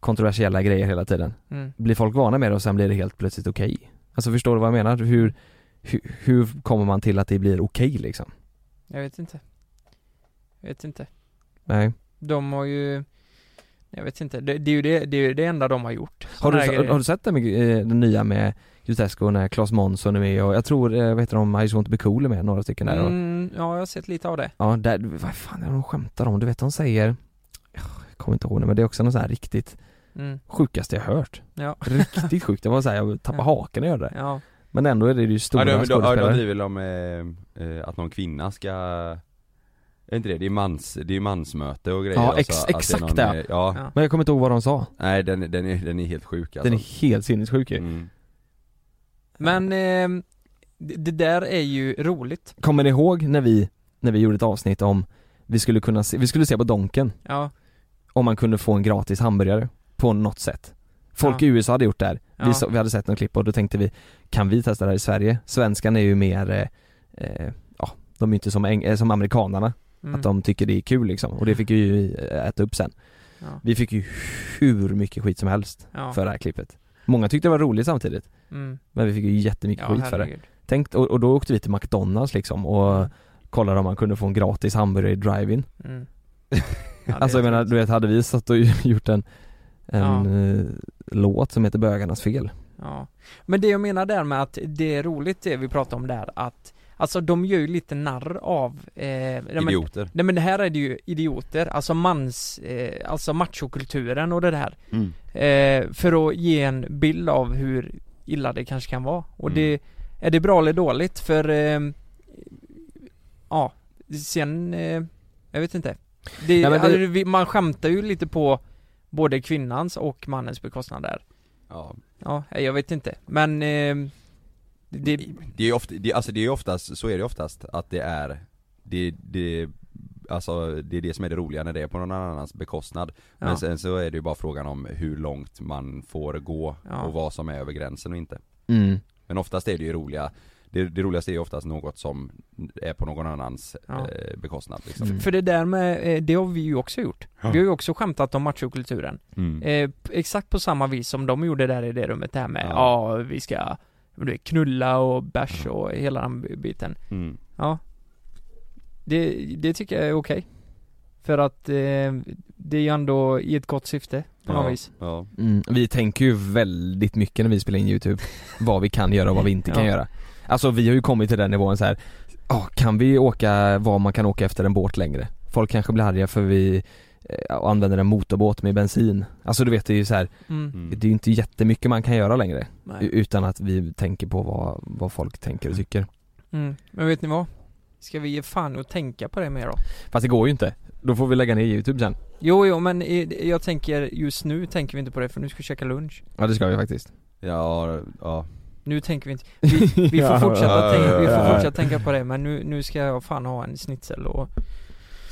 Speaker 1: kontroversiella grejer hela tiden,
Speaker 2: Mm.
Speaker 1: blir folk vana med det och sen blir det helt plötsligt okej? Alltså förstår du vad jag menar? Hur, hur, hur kommer man till att det blir okej liksom?
Speaker 2: Jag vet inte. Jag vet inte.
Speaker 1: Nej.
Speaker 2: De har ju... Jag vet inte. Det, det, är, ju det, det är ju det enda de har gjort.
Speaker 1: Har du,
Speaker 2: Såna här
Speaker 1: har
Speaker 2: grejer.
Speaker 1: du sett det med, eh, den nya med Grotesco när Claes Månsson är med och jag tror, eh, vad heter de, I just want to be cool är med, några stycken där och,
Speaker 2: Mm, ja, jag har sett lite av det.
Speaker 1: Ja, där, vad fan är det de skämtar om? Du vet de säger, jag kommer inte ihåg det men det är också något sån här riktigt
Speaker 2: Mm,
Speaker 1: sjukaste jag hört.
Speaker 2: Ja.
Speaker 1: Riktigt sjukt, det var såhär, jag tappade
Speaker 2: Ja.
Speaker 1: hakan när jag gjorde det.
Speaker 2: ja.
Speaker 1: Men ändå är det ju
Speaker 4: Ja
Speaker 1: stora
Speaker 4: de, de, de,
Speaker 1: skådespelare.
Speaker 4: driver om eh, eh, att någon kvinna ska är inte det? Det är, mans, det är mansmöte och grejer
Speaker 1: Ja,
Speaker 4: alltså,
Speaker 1: ex-
Speaker 4: att det är
Speaker 1: exakt
Speaker 4: någon,
Speaker 1: det.
Speaker 4: eh, Ja,
Speaker 2: Ja.
Speaker 1: Men jag kommer inte ihåg vad de sa.
Speaker 4: nej den, den, är, den är helt sjuk alltså
Speaker 1: Den är helt sinnessjuk ju.
Speaker 4: mm.
Speaker 2: Men ehm, det, det där är ju roligt.
Speaker 1: Kommer ni ihåg när vi, när vi gjorde ett avsnitt om, vi skulle kunna se, vi skulle se på Donken,
Speaker 2: Ja.
Speaker 1: om man kunde få en gratis hamburgare på något sätt. Folk
Speaker 2: Ja.
Speaker 1: i USA hade gjort det här.
Speaker 2: Ja.
Speaker 1: Vi, så, vi hade sett någon klipp och då tänkte vi, kan vi testa det här i Sverige? Svenskarna är ju mer, eh, eh, ja, de är ju inte som, eng- eh, som amerikanarna.
Speaker 2: Mm.
Speaker 1: Att de tycker det är kul liksom, och det fick ju vi äta upp sen
Speaker 2: Ja.
Speaker 1: Vi fick ju hur mycket skit som helst
Speaker 2: ja.
Speaker 1: för det här klippet Många tyckte det var roligt samtidigt,
Speaker 2: Mm.
Speaker 1: men vi fick ju jättemycket
Speaker 2: Ja,
Speaker 1: skit för det
Speaker 2: herregud.
Speaker 1: Tänk, och, och då åkte vi till McDonalds liksom och kollade om man kunde få en gratis hamburgare i drive-in
Speaker 2: Mm. Ja, det
Speaker 1: Alltså jag
Speaker 2: är
Speaker 1: menar,
Speaker 2: roligt.
Speaker 1: du vet hade vi satt och gjort en, en
Speaker 2: Ja.
Speaker 1: eh, låt som heter 'Bögarnas fel'
Speaker 2: Ja. Men det jag menar där med att det är roligt det vi pratar om där att Alltså de gör ju lite narr av eh, nej, men-
Speaker 4: Idioter
Speaker 2: Nej men det här är det ju idioter, alltså mans, eh, alltså machokulturen och det där
Speaker 4: mm.
Speaker 2: eh, För att ge en bild av hur illa det kanske kan vara och det Är det bra eller dåligt? För eh, Ja, sen eh, Jag vet inte det,
Speaker 1: Nej, men det-
Speaker 2: alltså, vi- Man skämtar ju lite på Både kvinnans och mannens bekostnad där
Speaker 4: ja.
Speaker 2: Ja, jag vet inte men eh, det,
Speaker 4: Det är ju ofta, det, alltså det är ju oftast, så är det oftast att det är det, det, alltså det är det som är det roliga när det är på någon annans bekostnad
Speaker 2: ja,
Speaker 4: Men sen så är det ju bara frågan om hur långt man får gå
Speaker 2: Ja.
Speaker 4: och vad som är över gränsen och inte
Speaker 1: mm.
Speaker 4: Men oftast är det ju roliga det, det roligaste är ju oftast något som är på någon annans
Speaker 2: Ja.
Speaker 4: eh, bekostnad liksom.
Speaker 1: Mm.
Speaker 2: För det där med, eh, det har vi ju också gjort Vi
Speaker 4: Ja.
Speaker 2: har ju också skämtat om machokulturen
Speaker 4: Mm.
Speaker 2: Eh, p- exakt på samma vis som de gjorde där i det rummet, det här med ja,
Speaker 4: Ja.
Speaker 2: vi ska du vet, knulla och bärs och hela den b- biten.
Speaker 4: Mm.
Speaker 2: Ja. Det, det tycker jag är okej. För att eh, det är ju ändå i ett gott syfte på något
Speaker 4: Ja,
Speaker 2: vis.
Speaker 4: ja.
Speaker 1: Mm, vi tänker ju väldigt mycket när vi spelar in YouTube, vad vi kan göra och vad vi inte kan
Speaker 2: Ja.
Speaker 1: göra. Alltså vi har ju kommit till den nivån så här. ja, kan vi åka vad man kan åka efter en båt längre? Folk kanske blir arga för vi eh, använder en motorbåt med bensin. Alltså du vet det är ju så här,
Speaker 2: Mm.
Speaker 4: Mm.
Speaker 1: det är ju inte jättemycket man kan göra längre
Speaker 2: Nej.
Speaker 1: u- utan att vi tänker på vad, vad folk tänker och tycker.
Speaker 2: Mm. Men vet ni vad? Ska vi ge fan och tänka på det mer då?
Speaker 1: Fast det går ju inte, då får vi lägga ner YouTube sen.
Speaker 2: Jo, jo, men eh, jag tänker just nu tänker vi inte på det för nu ska vi käka lunch.
Speaker 1: Ja det ska vi faktiskt.
Speaker 4: Ja, ja.
Speaker 2: Nu tänker vi inte. Vi, vi får
Speaker 1: Ja,
Speaker 2: fortsätta,
Speaker 4: ja,
Speaker 2: tänka, vi
Speaker 4: ja,
Speaker 2: får
Speaker 4: ja.
Speaker 2: fortsätta tänka på det men nu, nu ska jag fan ha en schnitzel och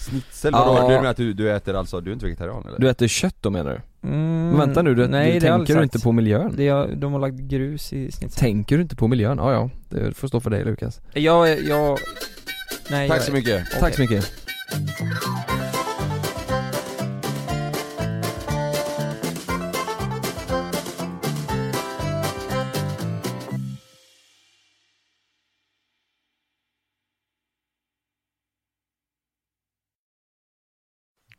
Speaker 4: Snitsel,
Speaker 1: Ja.
Speaker 4: vadå? Du menar att du, du äter alltså, du är inte vegetarian eller?
Speaker 1: Du äter kött då menar du?
Speaker 2: Mm,
Speaker 1: Men vänta nu, du,
Speaker 2: nej,
Speaker 1: du
Speaker 2: det har jag
Speaker 1: tänker du
Speaker 2: aldrig
Speaker 1: inte
Speaker 2: sagt.
Speaker 1: på miljön?
Speaker 2: Det är, de har lagt grus i snitt.
Speaker 1: Tänker du inte på miljön? Ja, ja, det får stå för dig Lukas.
Speaker 2: Jag, jag... Nej,
Speaker 5: Tack
Speaker 2: jag,
Speaker 5: så mycket.
Speaker 1: Tack så mycket.